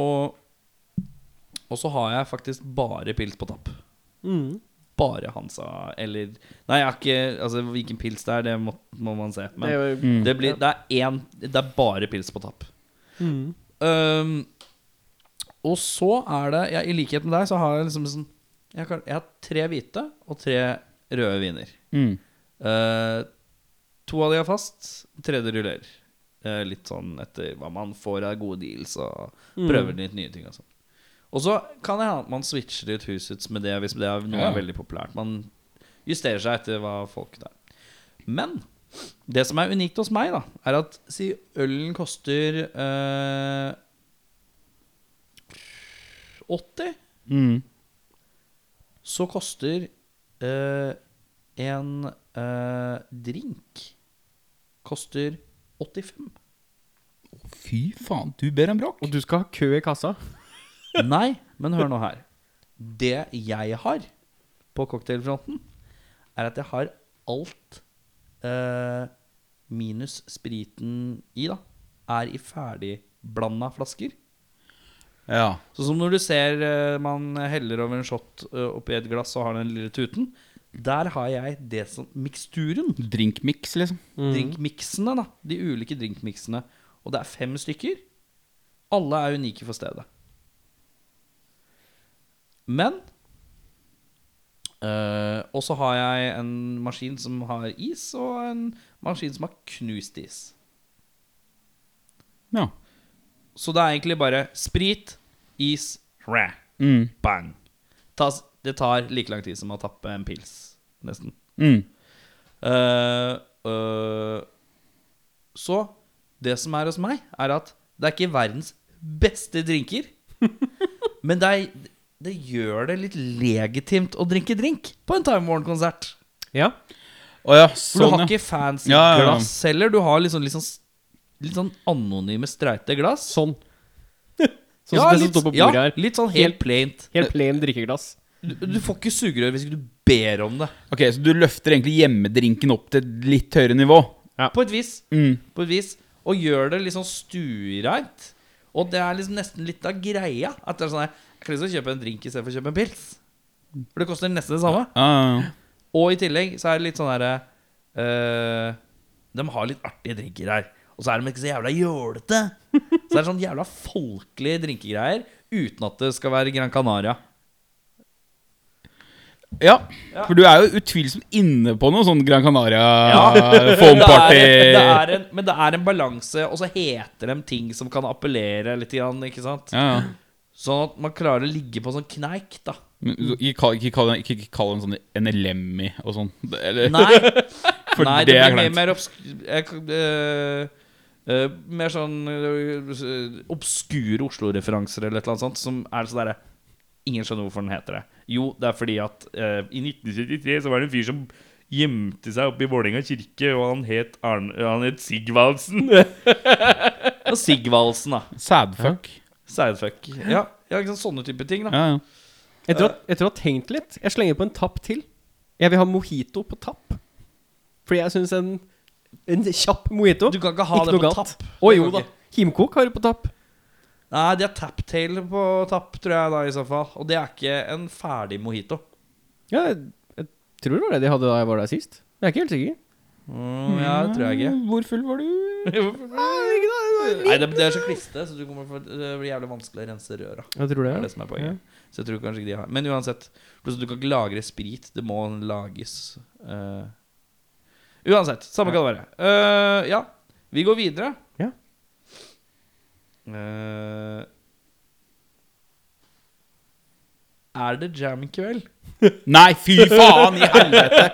Speaker 2: Og så har jeg faktisk bare pils på tapp
Speaker 1: Mm.
Speaker 2: bare Hansa eller Nei, jeg har ikke Altså, hvilken pils det er, det må, må man se. Men
Speaker 1: Det
Speaker 2: Mm. det,
Speaker 1: er jo-
Speaker 2: blir Det er én Det er bare pils på tapp.
Speaker 1: Mm.
Speaker 2: Ehm, og så er det jeg, I likhet med deg så har jeg liksom sånn jeg, kan, jeg har tre hvite og tre røde viner.
Speaker 3: Mm.
Speaker 2: Eh, to av de er fast, tredje ruller. Eh, litt sånn etter hva man får av gode deals og
Speaker 3: Mm.
Speaker 2: prøver litt nye ting. Og sånn. Og så kan det hende at man switcher ut husets med det hvis det er noe
Speaker 3: Ja.
Speaker 2: er veldig populært. Man justerer seg etter hva folk der. Men det som er unikt hos meg, da, er at si ølen koster eh, 80,
Speaker 3: Mm.
Speaker 2: så koster eh, en eh, drink Koster 85.
Speaker 3: Fy faen, du ber om bråk.
Speaker 1: Og du skal ha kø i kassa?
Speaker 2: Nei, men hør nå her. Det jeg har på cocktailfronten, er at jeg har alt eh, minus spriten i, da, er i ferdigblanda flasker.
Speaker 3: Ja.
Speaker 2: Sånn som når du ser eh, man heller over en shot eh, oppi et glass og har den lille tuten. Der har jeg det som miksturen.
Speaker 3: Drinkmix, liksom.
Speaker 2: Drinkmiksene, da. De ulike drinkmiksene. Og det er fem stykker. Alle er unike for stedet. Men eh, Og så har jeg en maskin som har is, og en maskin som har knust is.
Speaker 3: Ja.
Speaker 2: Så det er egentlig bare sprit, is, ræ,
Speaker 3: Mm.
Speaker 2: bang. Tas, det tar like lang tid som å tappe en pils, nesten.
Speaker 3: Mm.
Speaker 2: Eh, eh, så det som er hos meg, er at det er ikke verdens beste drinker. men det, er, det gjør det litt legitimt å drinke drink på en Time Warn-konsert.
Speaker 1: Ja.
Speaker 3: Å ja,
Speaker 2: For du
Speaker 3: sånn,
Speaker 2: har
Speaker 3: ja.
Speaker 2: ikke fancy
Speaker 3: Ja, ja, ja.
Speaker 2: glass heller. Du har litt sånn, litt sånn, litt sånn anonyme, streite glass.
Speaker 1: Sånn. Sånn som det som står på bordet
Speaker 2: ja,
Speaker 1: her.
Speaker 2: litt sånn helt
Speaker 1: Helt-
Speaker 2: plaint.
Speaker 1: Helt plain drikkeglass.
Speaker 2: Du, du får ikke sugerør hvis ikke du ber om det.
Speaker 3: Ok, Så du løfter egentlig hjemmedrinken opp til et litt høyere nivå?
Speaker 2: På et vis.
Speaker 3: Mm.
Speaker 2: på et vis, og gjør det litt sånn stuereint. Og det er liksom nesten litt av greia. At det er sånn her, Jeg kan liksom kjøpe en drink istedenfor å kjøpe en pils. For det koster nesten det samme.
Speaker 3: Ja, ja, ja.
Speaker 2: Og i tillegg så er det litt sånn herre eh, De har litt artige drinker her. Og så er de ikke så jævla jålete. Så det er sånn jævla folkelige drinkegreier uten at det skal være Gran Canaria.
Speaker 3: Ja, for du er jo utvilsomt inne på noe sånn Gran
Speaker 2: Ja.
Speaker 3: Canaria-foam-party.
Speaker 2: Det er, det er en, men det er en balanse, og så heter de ting som kan appellere litt, grann, ikke sant?
Speaker 3: Ja, ja.
Speaker 2: Sånn at man klarer å ligge på sånn kneik, da.
Speaker 3: Men
Speaker 2: Mm.
Speaker 3: du- Ikke kall- ikke kall ikke- ikke kall den sånn en lemmy og sånn. Det- Eller,
Speaker 2: Nei,
Speaker 3: for
Speaker 2: nei
Speaker 3: det,
Speaker 2: det, blir
Speaker 3: er kleint.
Speaker 2: mer obsk... Jeg, kan- eh, eh, mer sånn eh, obskure Oslo-referanser eller et eller annet sånt, som er sånn derre Ingen skjønner hvorfor den heter det. Jo, det er fordi at eh,
Speaker 5: I 1973 så var det en fyr som gjemte seg oppe i Vålerenga kirke, og han het, Arne, han het Sigvaldsen.
Speaker 2: og Sigvaldsen, da.
Speaker 3: Sadfuck.
Speaker 2: Sidefuck. Ja, ja ikke sant, sånne type ting, da.
Speaker 3: Ja, ja.
Speaker 1: Etter å,
Speaker 2: Eh.
Speaker 1: etter å ha tenkt litt, jeg slenger på en tapp til. Jeg vil ha mojito på tapp. Fordi jeg syns en, en kjapp mojito
Speaker 2: Du kan ikke ha det
Speaker 1: noe
Speaker 2: på
Speaker 1: galt.
Speaker 2: tapp.
Speaker 1: Å jo
Speaker 2: Det går
Speaker 1: da.
Speaker 2: ikke.
Speaker 1: Himkok har du på tapp.
Speaker 2: Nei, de har taptail på tapp, tror jeg, da, i så fall. Og det er ikke en ferdig mojito.
Speaker 1: Ja, jeg, jeg tror det var det de hadde da jeg var der sist. Jeg er ikke helt sikker.
Speaker 2: Mm, ja, det tror jeg ikke.
Speaker 3: Hvor full var du?
Speaker 2: Nei, det, det er så kliste, så du kommer for, det blir jævlig vanskelig å rense røra.
Speaker 1: Jeg tror det.
Speaker 2: Det er det som er poenget. Så jeg tror kanskje ikke de har Men uansett, plutselig du kan ikke lagre sprit. Det må lages eh. Uansett, samme kan det være. Eh, ja, vi går videre.
Speaker 1: Ja.
Speaker 2: Eh, er det jam i kveld?
Speaker 3: Nei, fy faen i helvete!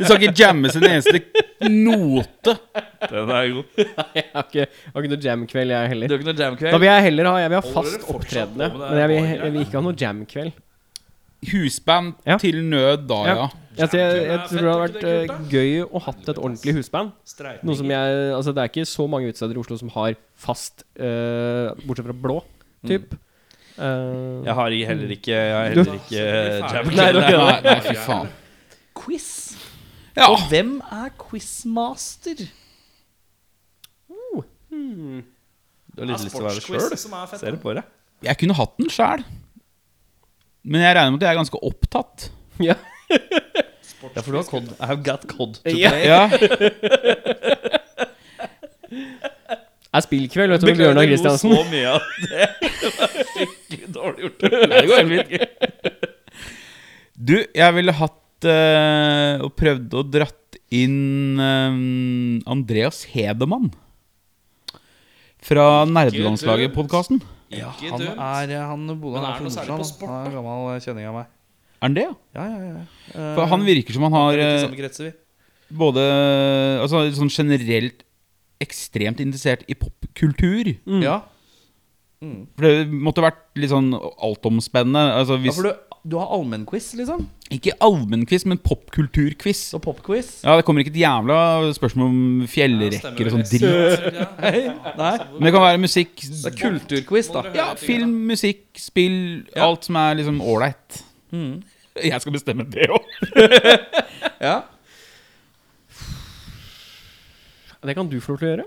Speaker 3: Du skal ikke jamme sin eneste note.
Speaker 5: Den er god.
Speaker 1: Jeg har ikke, jeg har ikke noe jam-kveld, jeg
Speaker 2: Det
Speaker 1: heller.
Speaker 2: er jo ikke noe jam i
Speaker 1: Da
Speaker 2: kveld.
Speaker 1: vil jeg heller ha Jeg vil ha
Speaker 2: Holder dere
Speaker 1: fast
Speaker 2: fortsatt
Speaker 1: opptredende.
Speaker 2: på med det
Speaker 1: Men jeg vil,
Speaker 2: her?
Speaker 1: jeg vil ikke ha noe jam-kveld.
Speaker 3: Husband
Speaker 1: Ja.
Speaker 3: til nød da, ja.
Speaker 1: Ja. Altså, jeg, jeg
Speaker 2: er fett,
Speaker 1: tror det hadde
Speaker 2: er ikke
Speaker 1: vært
Speaker 2: det
Speaker 1: eh,
Speaker 2: kult,
Speaker 1: gøy å hatt et ordentlig husband.
Speaker 2: Streitning.
Speaker 1: Noe som jeg, altså Det er ikke så mange utesteder i Oslo som har fast, eh, bortsett fra blå, typ. Eh,
Speaker 2: Jeg har heller ikke Jeg har
Speaker 1: Du-
Speaker 2: heller ikke eh, jam i
Speaker 1: Nei,
Speaker 2: kveld.
Speaker 1: det er ikke
Speaker 3: Nei, nei, fy faen.
Speaker 2: Quiz.
Speaker 3: Ja.
Speaker 2: Og hvem er quizmaster? Du har litt lyst til å være det sjøl?
Speaker 4: som er
Speaker 2: Ser det på deg.
Speaker 3: Jeg kunne hatt den sjæl. Men jeg regner med at jeg er ganske opptatt.
Speaker 1: Ja.
Speaker 2: Ja, for du har cod. I've got cod to
Speaker 1: Ja.
Speaker 2: play.
Speaker 3: Ja,
Speaker 1: Det er spillkveld, vet du, med Bjørnar Kristiansen.
Speaker 2: så mye av det. Det var skikkelig dårlig gjort.
Speaker 3: det går helt fint. Du, jeg ville hatt eh, og prøvd å dratt inn eh, Andreas Hedemann. Fra Nerdelandslaget-podkasten.
Speaker 2: Ja,
Speaker 4: Ikke
Speaker 2: han
Speaker 4: dumt.
Speaker 2: er eh, Han bodde han
Speaker 4: Men er det noe særlig
Speaker 2: Nordstrand,
Speaker 4: på sport,
Speaker 2: da. Han er en gammel eh, kjenning av meg.
Speaker 3: Er han det, ja?
Speaker 2: Ja, ja, ja.
Speaker 3: For han virker som han har
Speaker 2: ikke
Speaker 3: eh,
Speaker 2: samme kretser, vi.
Speaker 3: både Altså sånn generelt ekstremt interessert i popkultur.
Speaker 2: Ja.
Speaker 3: For det måtte vært litt sånn altomspennende. Altså
Speaker 2: ja,
Speaker 3: hvis
Speaker 2: for du, du har allmennquiz, liksom?
Speaker 3: Ikke allmennquiz, men popkulturquiz.
Speaker 2: Så popquiz?
Speaker 3: Ja, det kommer ikke et jævla spørsmål om fjellrekker og sånn dritt.
Speaker 2: Nei?
Speaker 4: altså,
Speaker 3: Men det kan være musikk
Speaker 2: Det er kulturquiz, da.
Speaker 3: Ja, film, musikk, spill,
Speaker 2: Ja.
Speaker 3: alt som er liksom ålreit. Jeg skal bestemme det òg.
Speaker 2: Ja.
Speaker 1: Det kan du få lov til å gjøre.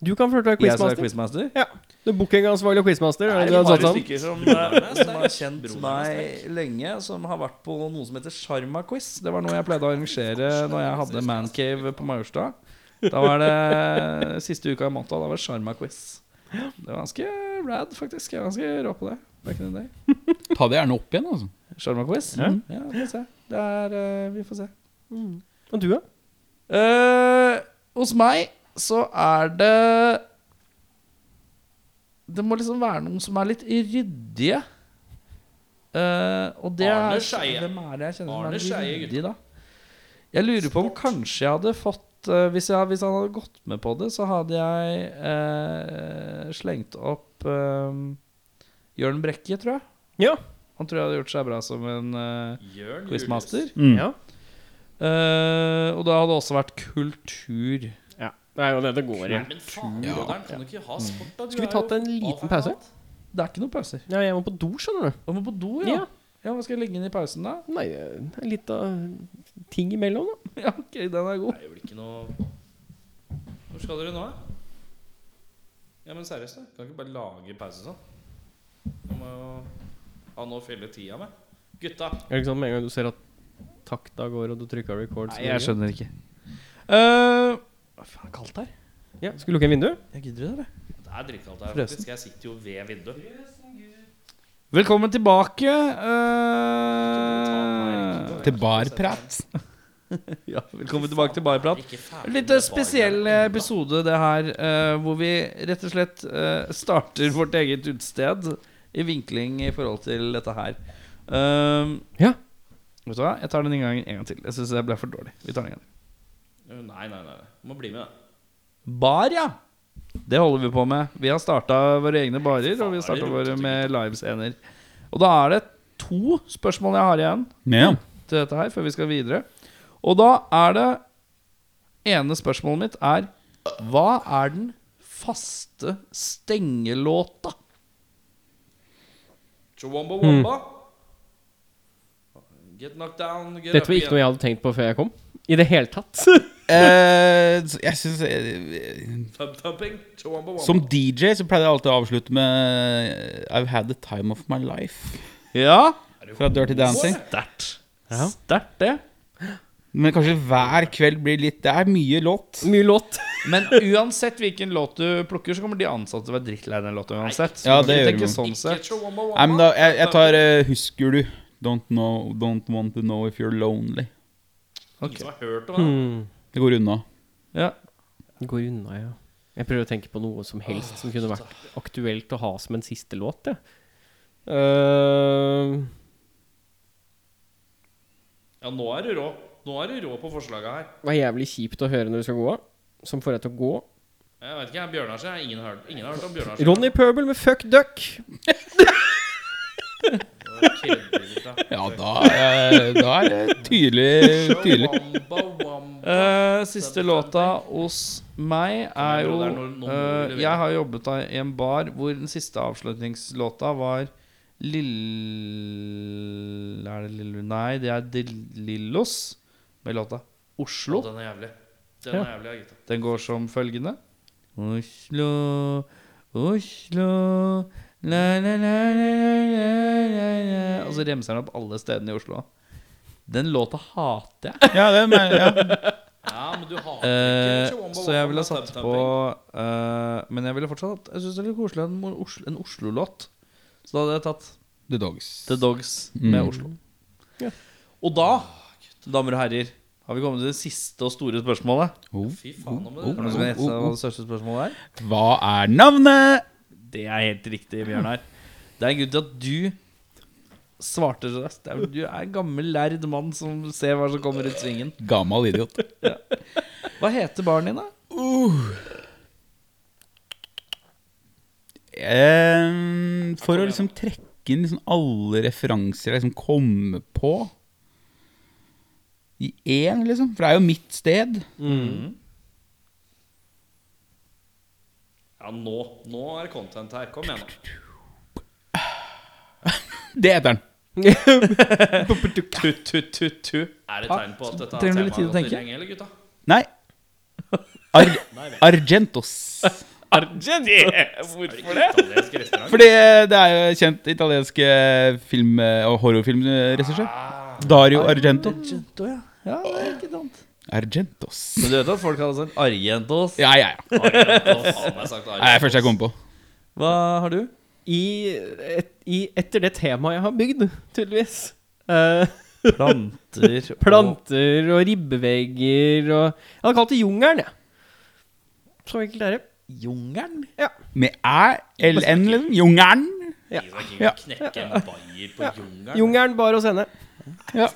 Speaker 1: Du kan få lov til å være
Speaker 2: Jeg som er
Speaker 1: quizmaster.
Speaker 2: quizmaster?
Speaker 1: Ja. Du er bookingansvarlig og quizmaster. er sånn. det
Speaker 5: Vi
Speaker 1: du
Speaker 5: har
Speaker 1: har satt
Speaker 5: et
Speaker 1: sammen?
Speaker 5: stykke som
Speaker 2: Som har kjent meg lenge, som har vært på noe som heter Sjarma-quiz. Det var noe jeg pleide å arrangere når jeg hadde Mancave på Majorstua. Da var det siste uka i måneden. Da var det Sjarma-quiz. Det var ganske rad, faktisk. Jeg var ganske rå på det. Back in the day.
Speaker 3: Ta det gjerne opp igjen, altså.
Speaker 2: Sjarma-quiz?
Speaker 5: Ja.
Speaker 2: ja, vi får se. Det er eh, Vi får se.
Speaker 1: Og du, ja?
Speaker 2: Eh, hos meg så er det Det må liksom være noen som er litt ryddige. Eh, og det
Speaker 4: Arne
Speaker 2: er
Speaker 4: Scheie.
Speaker 2: Hvem er det jeg kjenner
Speaker 4: Arne
Speaker 2: som er
Speaker 4: Scheie,
Speaker 2: ryddig, da? Jeg lurer på om kanskje jeg hadde fått eh, hvis, jeg, hvis han hadde gått med på det, så hadde jeg eh, slengt opp eh, Jørn Brekke, tror jeg.
Speaker 1: Ja.
Speaker 2: Han tror jeg hadde gjort seg bra som en eh, quizmaster.
Speaker 3: Mm.
Speaker 1: ja.
Speaker 2: Eh, og det hadde også vært kultur.
Speaker 1: ja. Nei, jo, dette går
Speaker 4: Nei,
Speaker 1: igjen.
Speaker 4: men faen, Oddaren, kan du ikke ha sport, da? Du
Speaker 1: Mm. Skal vi
Speaker 4: er
Speaker 1: tatt
Speaker 4: jo
Speaker 1: en liten
Speaker 4: alt er
Speaker 1: pause?
Speaker 4: alt.
Speaker 2: Det er ikke noen pauser.
Speaker 1: Ja, jeg må på do, skjønner du.
Speaker 2: Og må på do, ja. ja. Hva skal jeg legge inn i pausen, da?
Speaker 1: Nei, eh, det er litt av eh, ting imellom, da.
Speaker 2: Ja, ok, den er god.
Speaker 4: Nei, det blir ikke noe Hvor skal dere nå, da? Ja, men seriøst, da. Kan ikke bare lage pause sånn? Jeg må jo ha noe å fylle tida med. Gutta!
Speaker 1: Er det ikke sant med en gang du ser at takta går, og du trykker record? så går det.
Speaker 2: skjønner ikke. Uh, hva faen er det kaldt her?
Speaker 1: Ja, Skal vi lukke vinduet?
Speaker 2: Jeg gidder det, eller?
Speaker 4: Det er drittkaldt her,
Speaker 2: Forresten.
Speaker 4: faktisk. Jeg sitter jo ved vinduet.
Speaker 2: Velkommen tilbake. eh,
Speaker 3: Til barprat.
Speaker 2: ja, velkommen tilbake til Barprat.
Speaker 4: Ikke ferdig
Speaker 2: Litt
Speaker 4: med
Speaker 2: spesiell
Speaker 1: eh,
Speaker 4: barnet.
Speaker 2: episode, det her, eh, hvor vi rett og slett eh, starter vårt eget utested i vinkling i forhold til dette her. Um,
Speaker 1: Ja.
Speaker 2: Vet du hva? Jeg tar den en gang, en gang til. Jeg syns det ble for dårlig. Vi tar den en gang. til.
Speaker 4: Nei, nei, nei. Du Må bli med, da.
Speaker 2: Bar, ja. Det holder vi på med. Vi har starta våre egne barer, og vi har starta
Speaker 4: Farer,
Speaker 2: våre
Speaker 4: rotete
Speaker 2: med livescener. Og da er det to spørsmål jeg har igjen
Speaker 3: Ja.
Speaker 2: til dette her, før vi skal videre. Og da er det ene spørsmålet mitt er Hva er den faste stengelåta?
Speaker 4: Chihuahua Wamba.
Speaker 1: Mm.
Speaker 4: Get knocked down, get
Speaker 1: Dette
Speaker 4: up
Speaker 1: var ikke noe
Speaker 4: igjen.
Speaker 1: jeg hadde tenkt på før jeg kom. I det hele tatt.
Speaker 3: Eh, så jeg syns eh,
Speaker 4: Thumb thumping. Chihuahua Wamba.
Speaker 3: Som DJ så pleier jeg alltid å avslutte med eh, I've had the time of my life.
Speaker 2: Ja,
Speaker 3: Fra Dirty Dancing.
Speaker 2: sterkt. Sterkt, det.
Speaker 3: Men kanskje hver kveld blir litt Det er mye låt.
Speaker 1: Mye låt.
Speaker 2: Men uansett hvilken låt du plukker, så kommer de ansatte til å være drittlei den låta uansett. Så
Speaker 3: Ja,
Speaker 2: du kan
Speaker 3: det
Speaker 2: ikke
Speaker 3: gjør
Speaker 2: tenke
Speaker 3: man.
Speaker 2: sånn sett.
Speaker 4: Chihuahua
Speaker 3: Nei, men
Speaker 4: Wamba.
Speaker 3: da, jeg, jeg tar eh, Husker du? Don't, know, don't want to know if you're lonely.
Speaker 4: Ingen som har hørt om
Speaker 2: Hmm.
Speaker 4: det.
Speaker 1: Mm.
Speaker 3: Det går unna.
Speaker 2: Ja.
Speaker 1: Går unna, ja. Jeg prøver å tenke på noe som helst som kunne vært aktuelt å ha som en siste låt, jeg. Eh,
Speaker 4: Ja, nå er du rå. Nå er du rå på forslaga her.
Speaker 1: det var jævlig kjipt å høre når du skal gå av. Som får deg til å gå.
Speaker 4: Jeg vet ikke, jeg er Bjørnarsen. jeg har Ingen, har hørt- ingen har hørt om Bjørnarsen.
Speaker 1: Ronny Pøbel med 'Fuck Duck'.
Speaker 3: Ja, da, eh, da er det tydelig. tydelig.
Speaker 2: Eh, siste låta hos meg er jo
Speaker 4: Det er noe- noe
Speaker 2: eh,
Speaker 4: du leverer.
Speaker 2: Jeg har jobbet da i en bar hvor den siste avslutningslåta var Lill... Er det Lillo? Nei, det er De Lillos med låta Oslo.
Speaker 4: Den er jævlig. Den er jævlig, ja, gutta.
Speaker 2: Den går som følgende. Oslo, Oslo la, la, la, la, la, la, la. Og så remser den opp alle stedene i Oslo. Den låta hater jeg.
Speaker 3: Ja, det er, ja.
Speaker 4: Ja, men du hater
Speaker 2: Eh,
Speaker 4: ikke Chihuahua
Speaker 2: så jeg ville ha
Speaker 4: Wamba,
Speaker 2: satt
Speaker 4: Thumb
Speaker 2: på
Speaker 4: Thumping.
Speaker 2: eh, Men jeg ville fortsatt hatt Jeg syns det er litt koselig en, mo- Oslo- en Oslo-låt. Så da hadde jeg tatt
Speaker 3: The Dogs.
Speaker 2: The Dogs Mm. med Oslo.
Speaker 1: Ja.
Speaker 2: Og da, damer og herrer, har vi kommet til det siste og store spørsmålet.
Speaker 3: Oh.
Speaker 4: Fy faen, nå må
Speaker 2: Er det
Speaker 4: du
Speaker 2: noen som kan gjette
Speaker 3: oh, oh.
Speaker 2: hva det største spørsmålet er?
Speaker 3: Hva er navnet?
Speaker 2: Det er helt riktig, Bjørnar. Det er en grunn til at du svarte så raskt. Det er- Du er en gammel, lærd mann som ser hva som kommer ut svingen.
Speaker 3: Gammel idiot.
Speaker 2: Hva heter barnet ditt, da?
Speaker 3: Ehm, for å liksom trekke inn liksom alle referanser jeg liksom kommer på i én, liksom. For det er jo mitt sted.
Speaker 4: Ja, nå, nå er det content her. Kom igjen, da.
Speaker 3: Det heter den.
Speaker 4: Tut-tut-tut-tu. Er det tegn på at dette
Speaker 2: Trenger du litt
Speaker 4: temaet
Speaker 2: tid å
Speaker 4: har gått litt
Speaker 2: tenke?
Speaker 4: lenge, eller gutta?
Speaker 3: Nei. Ar Argentos.
Speaker 4: Hvorfor det? Italiensk restaurant.
Speaker 3: Fordi det er jo kjent italiensk eh, film- og horrorfilmregissør. Dario Argento.
Speaker 2: Argento, ja. ja det er ikke dumt.
Speaker 3: Argentos.
Speaker 2: Men du vet at folk hadde sagt Argentos?
Speaker 3: Ja, ja, ja.
Speaker 4: Argentos. Faen, jeg har sagt
Speaker 3: Det er det
Speaker 4: Argentos.
Speaker 3: første jeg kom på.
Speaker 2: Hva har du?
Speaker 1: I, et, i, etter det temaet jeg har bygd, tydeligvis. Eh,
Speaker 2: Planter
Speaker 1: planter og ribbevegger og Jeg hadde kalt det jungelen, jeg. Så enkelt er det.
Speaker 2: og jungelen.
Speaker 3: Med æ-l-n, liksom. Jungelen.
Speaker 4: Isak
Speaker 3: Ja.
Speaker 4: Inge knekker en bayer på jungelen.
Speaker 1: Jungelen bar oss ende.
Speaker 3: Ja.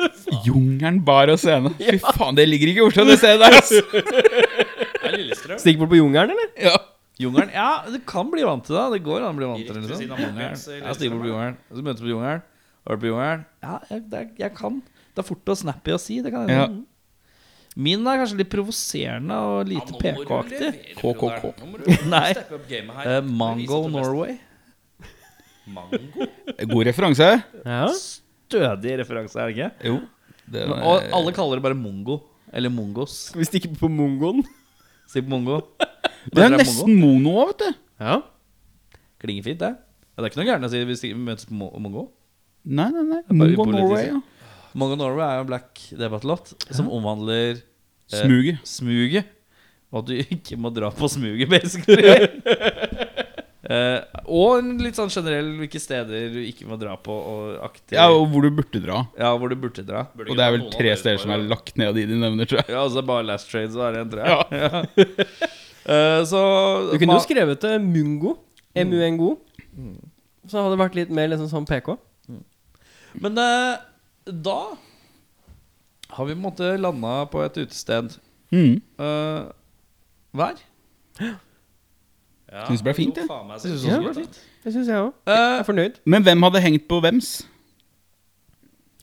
Speaker 3: Jungelen bar og scene. Fy faen, det ligger ikke i Oslo, det stedet der. Altså.
Speaker 4: Det er Lillestrøm.
Speaker 1: Stikk bort på jungelen, eller?
Speaker 3: Ja.
Speaker 2: Jungelen, Ja, du kan bli vant til det. Det går an å bli vant til det. Liksom.
Speaker 4: Riktig siden av
Speaker 2: Jungelen.
Speaker 4: Mocklands, eller
Speaker 2: Jeg stiger på
Speaker 4: liksom.
Speaker 2: jungelen. Så møtes vi på jungelen. Har du vært på jungelen? Ja, jeg, det er, jeg kan. Det er fort og snappy å si. Det kan jeg
Speaker 3: Ja.
Speaker 2: si. Mm. Min er kanskje litt provoserende og lite
Speaker 4: Ja, nå må du
Speaker 2: PK-aktig.
Speaker 4: levere,
Speaker 3: KKK.
Speaker 4: broderen. Nå må du
Speaker 2: Nei.
Speaker 4: steppe opp gamet her.
Speaker 2: Eh,
Speaker 4: Du
Speaker 2: Mango
Speaker 4: viser at du er best.
Speaker 2: Norway.
Speaker 4: Mango?
Speaker 3: Eh, God referanse.
Speaker 1: Ja.
Speaker 2: Stødig referanse, er det ikke?
Speaker 3: Jo. Det,
Speaker 2: Men, og alle kaller det bare mongo. Eller mongos.
Speaker 1: Skal vi stikke på mongoen?
Speaker 2: Si på mongo.
Speaker 3: det er
Speaker 2: Møter deg på mongo?
Speaker 3: nesten mono òg, vet du.
Speaker 1: Ja.
Speaker 2: Klinger fint, det. Ja, det er ikke noe gærent å si vi stiger- vi møtes på mo- mongo.
Speaker 3: Nei, nei, nei.
Speaker 2: bare
Speaker 3: Mongo
Speaker 2: upolitisk.
Speaker 3: Norway, ja.
Speaker 2: Mongo Norway er jo en black debattlåt som omhandler eh,
Speaker 3: Smuget.
Speaker 2: smuget. Og at du ikke må dra på smuget, basically. Eh, og en litt sånn generell hvilke steder du ikke må dra på, og aktiv
Speaker 3: Ja, og hvor du burde dra.
Speaker 2: Ja, hvor du Eh, burde dra.
Speaker 4: Burde
Speaker 3: Og
Speaker 4: ikke
Speaker 3: det er
Speaker 4: være
Speaker 3: vel
Speaker 4: noen av
Speaker 3: tre
Speaker 4: dere
Speaker 3: steder som
Speaker 4: bare-
Speaker 3: er lagt ned i de nevner, tror jeg.
Speaker 2: Ja, altså det er bare Last Trade, så er det en tre. Eh, så
Speaker 1: Du kunne
Speaker 2: ma-
Speaker 1: jo
Speaker 2: Mm.
Speaker 1: skrevet det mungo. M-U-N-G-O. Så hadde det vært litt mer liksom sånn PK.
Speaker 2: Men eh, da har vi på en måte landa på et utested
Speaker 3: Mm.
Speaker 2: eh, hver.
Speaker 4: Ja,
Speaker 3: Synes det ble fint,
Speaker 4: jo,
Speaker 3: jeg.
Speaker 4: faen meg,
Speaker 2: Jeg synes også
Speaker 4: så
Speaker 1: det
Speaker 4: fint,
Speaker 2: ble
Speaker 4: da.
Speaker 1: Det syns jeg òg.
Speaker 2: Eh,
Speaker 1: Jeg er fornøyd.
Speaker 3: Men hvem hadde hengt på hvems?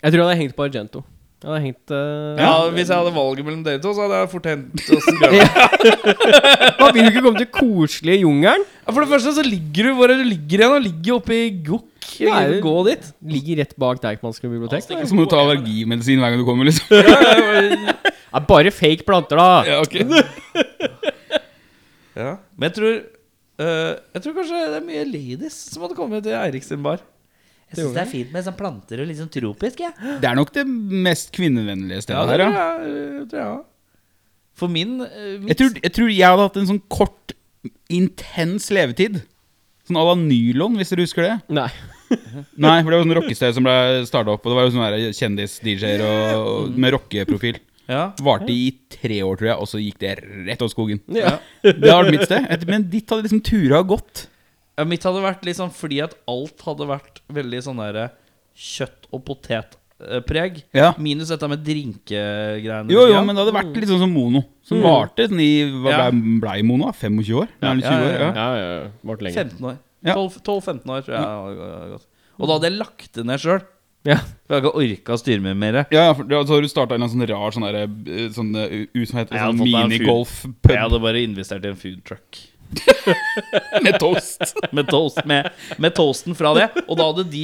Speaker 1: Jeg tror jeg hadde hengt på Argento. Jeg hadde hengt eh,
Speaker 2: ja, hvis jeg hadde valget mellom dere to, så hadde jeg fort hentet oss en grønn.
Speaker 1: Da vil du ikke komme til koselige jungelen.
Speaker 2: Ja, For det første så ligger du Hvor er det du ligger igjen? Du ligger oppe i gokk.
Speaker 1: Nei,
Speaker 2: Eller Gå dit.
Speaker 1: Ligger rett bak Deichmanske bibliotek. da.
Speaker 3: Og så må du ta allergimedisin hver gang du kommer, liksom.
Speaker 1: Ja, bare fake planter, da!
Speaker 3: Ja, ok
Speaker 2: Ja. Men jeg tror eh, Jeg tror kanskje det er mye ladies som hadde kommet til Eirik sin bar. Jeg syns det er fint med sånn planter og litt sånn tropisk. Ja.
Speaker 3: Det er nok det mest kvinnevennlige stedet
Speaker 2: Ja, det
Speaker 3: her,
Speaker 2: tror
Speaker 3: ja.
Speaker 2: jeg, eh, tror jeg. også. For min eh, mitt-
Speaker 3: Jeg tror, jeg tror jeg hadde hatt en sånn kort, intens levetid. Sånn à la nylon, hvis dere husker det.
Speaker 1: Nei.
Speaker 3: Nei, for det var sånn rockested som ble starta opp, og det var jo sånn sånne kjendis-DJ-er og, og med rockeprofil.
Speaker 2: ja.
Speaker 3: Varte i tre år, tror jeg, og så gikk det rett over skogen.
Speaker 1: Ja.
Speaker 3: Det har vært mitt sted. Et- Men ditt hadde liksom tura gått.
Speaker 2: ja, mitt hadde vært litt sånn fordi at alt hadde vært veldig sånn der eh, kjøtt- og potetpreg.
Speaker 3: Ja.
Speaker 2: Minus dette med drinkegreiene.
Speaker 3: Jo, jo,
Speaker 2: Ja.
Speaker 3: men det hadde vært litt sånn som mono. Som varte sånn i Hva
Speaker 2: Ja.
Speaker 3: blei ble mono? da? 25 år? Ja, eller 20 år? Ja.
Speaker 1: Ja, ja, ja. Vart
Speaker 2: 15 år.
Speaker 3: Ja.
Speaker 2: 12 12-15 år, tror jeg. det hadde gått. Og da hadde jeg lagt det ned sjøl.
Speaker 1: Ja.
Speaker 2: For jeg hadde ikke orka å styre med mer.
Speaker 3: Ja, ja, for det- altså, har du starta en eller annen sånn rar sånn der, eh, sånn, eh, u- som heter
Speaker 2: Jeg hadde
Speaker 3: sånn
Speaker 2: fått meg en fyr.
Speaker 3: minigolf-pub
Speaker 2: Jeg hadde bare investert i en food truck.
Speaker 3: med toast.
Speaker 2: Med, toast, med, med toasten fra det. Og da hadde de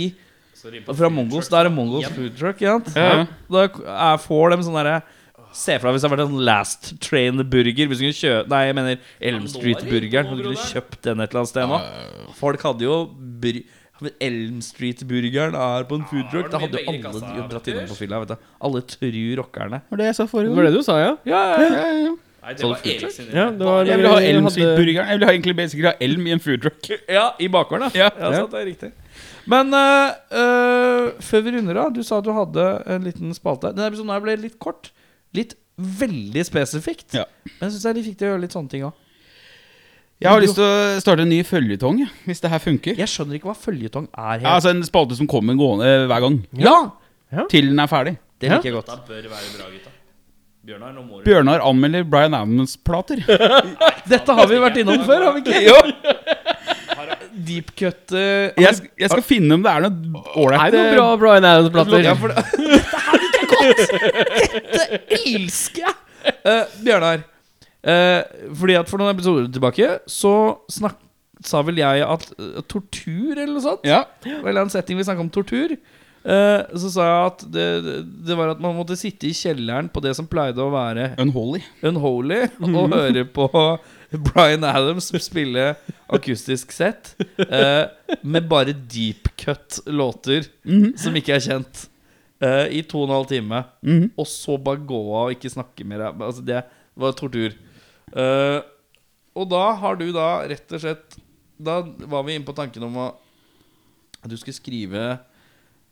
Speaker 4: Så rim på
Speaker 2: Fra Mongos, da er det Mongos food truck. Ikke sant?
Speaker 3: Ja, ja.
Speaker 2: Da er- får de sånn derre Se for deg hvis det hadde vært en sånn Last Train-burger. Hvis du kunne kjøpe Nei, jeg mener Elm
Speaker 4: nå er det
Speaker 2: Street-burgeren. Du
Speaker 4: ikke noe,
Speaker 2: kunne
Speaker 4: broder.
Speaker 2: kjøpt den et eller annet sted nå. Folk hadde jo bur Men Elm Street-burgeren er på en food
Speaker 4: da
Speaker 2: truck.
Speaker 4: var
Speaker 2: Da
Speaker 4: det mye
Speaker 2: hadde jo
Speaker 4: penger i
Speaker 2: alle
Speaker 4: kassa,
Speaker 2: de- dratt innom på
Speaker 4: Petters.
Speaker 2: fylla. vet du. Alle tru rockerne.
Speaker 3: var det jeg sa forrige
Speaker 1: Det var det du sa, ja?
Speaker 4: Nei, det
Speaker 2: Så
Speaker 4: var
Speaker 2: du food
Speaker 4: Erik
Speaker 2: truck?
Speaker 4: sin
Speaker 1: Ja, det var-
Speaker 3: Jeg ville ha
Speaker 1: Vi
Speaker 3: elm
Speaker 1: hadde-
Speaker 3: burgeren Jeg ville ha egentlig basic ha elm i en food truck.
Speaker 2: Ja, i bakgården, ja.
Speaker 3: Ja.
Speaker 2: ja, sant, det er riktig. Men eh, eh, før vi runder av, du sa at du hadde en liten spalte. Denne episoden her ble litt kort. Litt veldig spesifikt.
Speaker 3: Ja.
Speaker 2: Men jeg syns det er litt viktig å gjøre litt sånne ting òg.
Speaker 3: Jeg har lyst til å starte en ny føljetong, jeg, hvis det her funker.
Speaker 2: Jeg skjønner ikke hva føljetong er
Speaker 3: Ja,
Speaker 2: helt.
Speaker 3: altså En spalte som kommer gående eh, hver gang
Speaker 2: Ja!
Speaker 3: til den er ferdig.
Speaker 2: Det liker jeg godt.
Speaker 4: Dette bør være bra, gutta. Bjørnar, nå må du
Speaker 3: Bjørnar anmelder Bryan Adams-plater.
Speaker 2: Dette har vi vært innom før, har vi ikke?
Speaker 3: Jo,
Speaker 2: Deep cut eh,
Speaker 3: jeg, sk- jeg skal finne om det er noe
Speaker 1: Er
Speaker 3: ålreit
Speaker 1: det noen bra Bryan Adams-plater?
Speaker 2: Ja, for det Dette elsker jeg! Eh, Bjørnar, eh, fordi at for noen episoder tilbake så snakk, sa vel jeg at eh, tortur eller noe sånt
Speaker 3: Ja.
Speaker 2: Det var en eller annen setting vi snakket om tortur. Eh, Eh, så sa jeg at det, det var at man måtte sitte i kjelleren på det som pleide å være
Speaker 3: Unholy.
Speaker 2: Unholy og høre på Bryan Adams spille akustisk sett eh, med bare deep cut låter som ikke er kjent, eh, i to og en halv time.
Speaker 3: Mhm.
Speaker 2: Og så bare gå av og ikke snakke mer. Altså, det var tortur. Eh, og da har du da rett og slett Da var vi inne på tanken om å- at du skulle skrive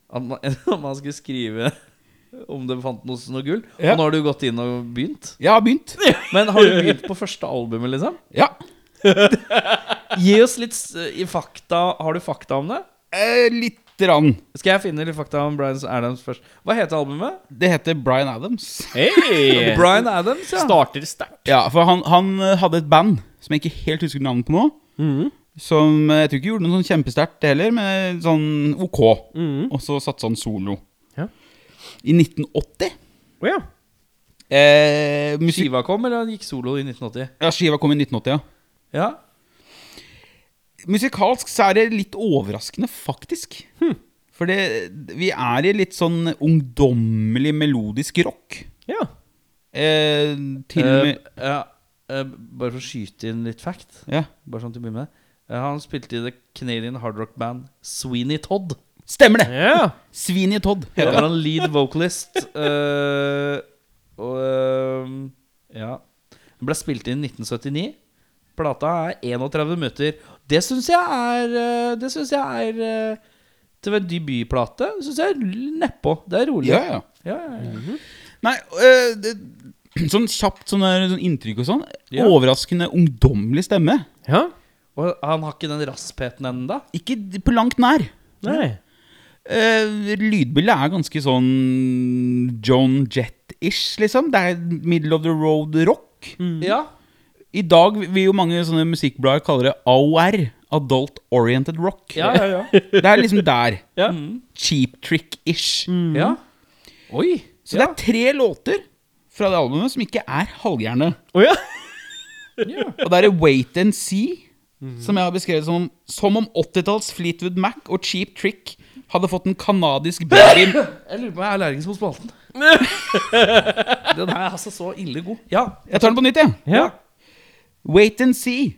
Speaker 2: At man, at man skulle skrive om det fant noe, noe gull.
Speaker 3: Ja.
Speaker 2: Og nå har du gått inn og begynt.
Speaker 3: Jeg har begynt.
Speaker 2: Men har du begynt på første albumet, liksom?
Speaker 3: Ja.
Speaker 2: Gi oss litt eh, i fakta. Har du fakta om det?
Speaker 3: Eh, litt rann.
Speaker 2: Skal jeg finne litt fakta om Bryan Adams først? Hva heter albumet?
Speaker 3: Det heter Bryan Adams.
Speaker 1: Hey!
Speaker 2: Bryan Adams, ja.
Speaker 1: Starter sterkt.
Speaker 3: Ja, for han, han eh, hadde et band som jeg ikke helt husker navnet på nå. Som eh, jeg tror ikke gjorde noe sånn kjempesterkt det heller, men sånn ok. Og så satsa han solo.
Speaker 1: Ja.
Speaker 3: I 1980.
Speaker 1: Å ja.
Speaker 3: Eh, musik
Speaker 2: Skiva kom, eller han gikk solo i 1980?
Speaker 3: ja, skiva kom i 1980, ja.
Speaker 2: Ja.
Speaker 3: Musikalsk så er det litt overraskende, faktisk. For det, vi er i litt sånn ungdommelig melodisk rock.
Speaker 1: ja.
Speaker 3: Eh, til
Speaker 2: Eh,
Speaker 3: og med
Speaker 2: ja. eh, bare for å skyte inn litt fact.
Speaker 3: Ja.
Speaker 2: Bare sånn til å begynne med Eh, Han spilte i det Canadian hardrock-band Sweeney Todd.
Speaker 3: Stemmer det!
Speaker 1: ja.
Speaker 3: Sweeney Todd
Speaker 2: Da
Speaker 3: heter
Speaker 2: var
Speaker 3: han.
Speaker 2: han lead vocalist. eh, og eh, ja. Den ble spilt inn i 1979. Plata er 31 minutter. Det syns jeg er eh, Det synes jeg er eh, Til en debutplate Det syns jeg er nedpå. Det er rolig.
Speaker 3: Ja, ja.
Speaker 2: Ja, ja, ja.
Speaker 3: Nei, øh, det, sånn kjapt sånn, der, sånn inntrykk og sånn.
Speaker 2: Ja.
Speaker 3: Overraskende ungdommelig stemme.
Speaker 1: ja.
Speaker 2: Og han har ikke den raspheten ennå.
Speaker 3: Ikke d- på langt nær.
Speaker 1: Nei.
Speaker 3: Eh, lydbildet er ganske sånn John Jett-ish, liksom. Det er middle of the road rock.
Speaker 2: Ja.
Speaker 3: I dag vil jo mange sånne musikkblader kalle det AOR. Adult Oriented Rock.
Speaker 2: Ja, ja, ja.
Speaker 3: Det er liksom der.
Speaker 2: ja. Mm.
Speaker 3: Cheap trick-ish.
Speaker 2: ja. Oi.
Speaker 3: Så det er tre låter fra det albumet som ikke er halvgjerne.
Speaker 1: Å ja.
Speaker 3: Og det er Wait and See, som jeg har beskrevet som, som om 80-talls Fleetwood Mac og Cheap Trick hadde fått en kanadisk baby
Speaker 2: Jeg lurer på om jeg er allergisk mot spalten. den er altså så ille god. Ja.
Speaker 3: Jeg tar den på nytt, jeg.
Speaker 1: ja.
Speaker 3: Wait and See.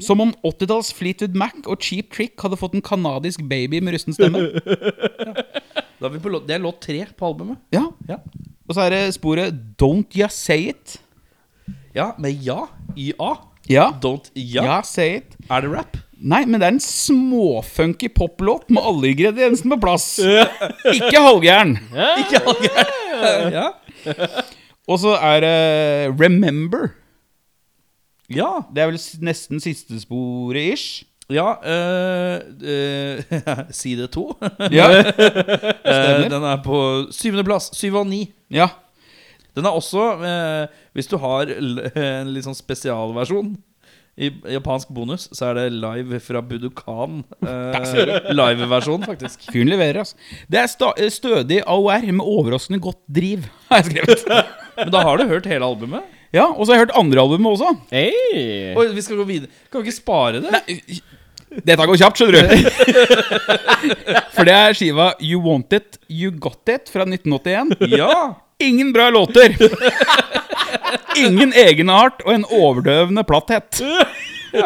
Speaker 3: Som om 80-talls Fleetwood Mac og Cheap Trick hadde fått en kanadisk baby med rusten stemme.
Speaker 2: Da er vi på låt, det er låt tre på albumet.
Speaker 3: Ja.
Speaker 2: Ja.
Speaker 3: Og så er det sporet Don't Ya Say It.
Speaker 2: Ja, med ja. Y-a.
Speaker 3: Ja.
Speaker 2: Don't
Speaker 3: Ja,
Speaker 2: ja.
Speaker 3: say it.
Speaker 2: Er det rap?
Speaker 3: Nei, men det er en småfunky poplåt med alle ingrediensene på plass. Ikke halvgæren.
Speaker 2: Ikke allgæren. ja.
Speaker 3: Og så er det Remember.
Speaker 2: Ja.
Speaker 3: Det er vel s- nesten siste sporet ish.
Speaker 2: ja øh, øh, side to.
Speaker 3: Ja.
Speaker 2: Eh, den er på syvende plass. Syv av ni.
Speaker 3: ja.
Speaker 2: Den er også, eh, hvis du har l en litt sånn spesialversjon i japansk bonus, så er det live fra Budokan. Eh, Liveversjon, faktisk.
Speaker 3: Fyren leverer, altså. Det er sta eh, stødig AOR med overraskende godt driv, har jeg skrevet.
Speaker 2: Men da har du hørt hele albumet?
Speaker 3: Ja, og så har jeg hørt andre albumet også.
Speaker 1: Hey.
Speaker 2: Oi, vi skal gå videre. Kan vi ikke spare det?
Speaker 3: Dette går kjapt, skjønner du. For det er skiva You Want It, You Got It fra 1981.
Speaker 2: Ja!
Speaker 3: Ingen bra låter. Ingen egenart og en overdøvende platthet.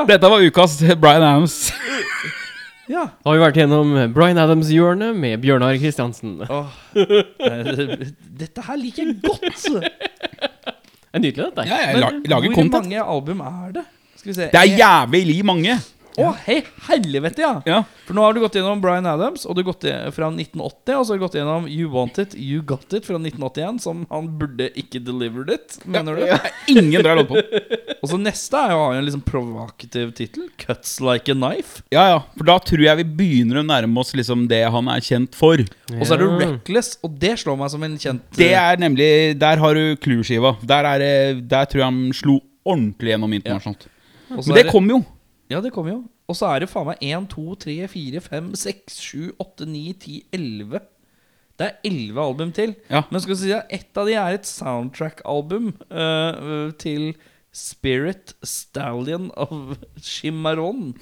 Speaker 3: Dette var ukas Bryan Adams.
Speaker 2: ja.
Speaker 1: Da har vi vært gjennom Bryan Adams-hjørnet med Bjørnar Kristiansen.
Speaker 2: Åh, eh, dette her liker jeg godt!
Speaker 1: Det er nydelig, dette. her.
Speaker 3: Ja, jeg la lager
Speaker 2: hvor
Speaker 3: content.
Speaker 2: mange album er det? Skal vi se
Speaker 3: Det er jævlig mange.
Speaker 2: Å, hei, helvete, ja.
Speaker 3: Ja.
Speaker 2: For nå har du gått gjennom Bryan Adams Og du har gått i- fra 1980 Og så har du gått gjennom You Want It, You Got It fra 1981 Som han burde ikke delivered it Mener du?
Speaker 3: Ingen bra låt på.
Speaker 2: Og så neste er jo har jo en liksom provokativ titel Cuts Like a Knife
Speaker 3: Ja, ja. For da tror jeg vi begynner å nærme oss liksom det han er kjent for.
Speaker 2: Og så er det
Speaker 1: Ja.
Speaker 2: Reckless Og det slår meg som en kjent
Speaker 3: Det er nemlig Der har du Clue-skiva. Der, er det- der tror jeg han slo ordentlig gjennom internasjonalt.
Speaker 2: eh, og så
Speaker 3: Men
Speaker 2: er
Speaker 3: det kom jo.
Speaker 2: Ja, det kommer jo Og så er det faen meg 1, 2, 3, 4, 5, 6, 7, 8, 9, 10, 11 Det er 11 album til
Speaker 3: Ja.
Speaker 2: Men skal vi si at ett av de er et soundtrack-album eh, til Spirit Stallion of Chimaron.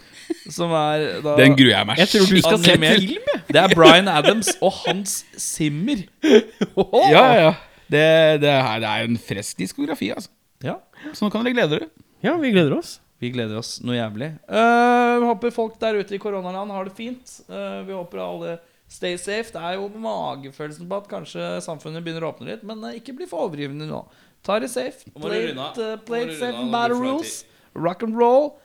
Speaker 2: Som er da
Speaker 3: Den gruer jeg meg
Speaker 1: Jeg tror du skal se
Speaker 2: Animert.
Speaker 1: film, jeg.
Speaker 2: Det er Bryan Adams og Hans Zimmer.
Speaker 3: Ja, ja. Det, det, er, det er en fresk diskografi, altså.
Speaker 2: Ja,
Speaker 3: Så nå kan dere glede dere.
Speaker 1: Ja, vi gleder oss.
Speaker 2: Vi gleder oss noe jævlig. Eh, vi håper folk der ute i koronaland har det fint. Eh, vi håper alle stay safe. Det er jo magefølelsen på at kanskje samfunnet begynner å åpne litt, men eh, ikke bli for overgivende nå. Ta det safe.
Speaker 4: Nå må du
Speaker 2: Play
Speaker 4: runde av.
Speaker 2: it, eh, play
Speaker 4: Nå må
Speaker 2: it
Speaker 4: du runde
Speaker 2: safe
Speaker 4: av,
Speaker 2: and
Speaker 4: nå
Speaker 2: battle
Speaker 4: blir det for lang
Speaker 2: rules. Rock and roll.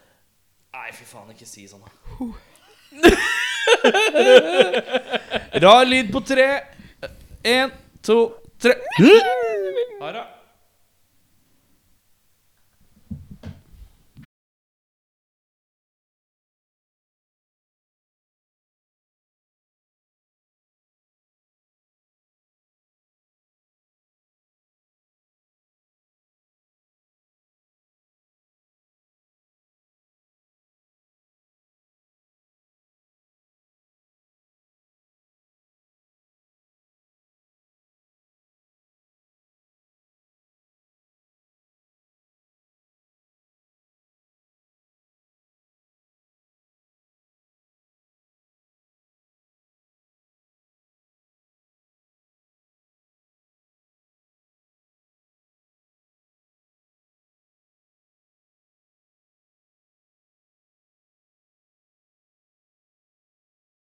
Speaker 4: Nei, fy faen, ikke si sånn, da.
Speaker 2: Rar lyd på tre. Én, to, tre.
Speaker 4: Ha det.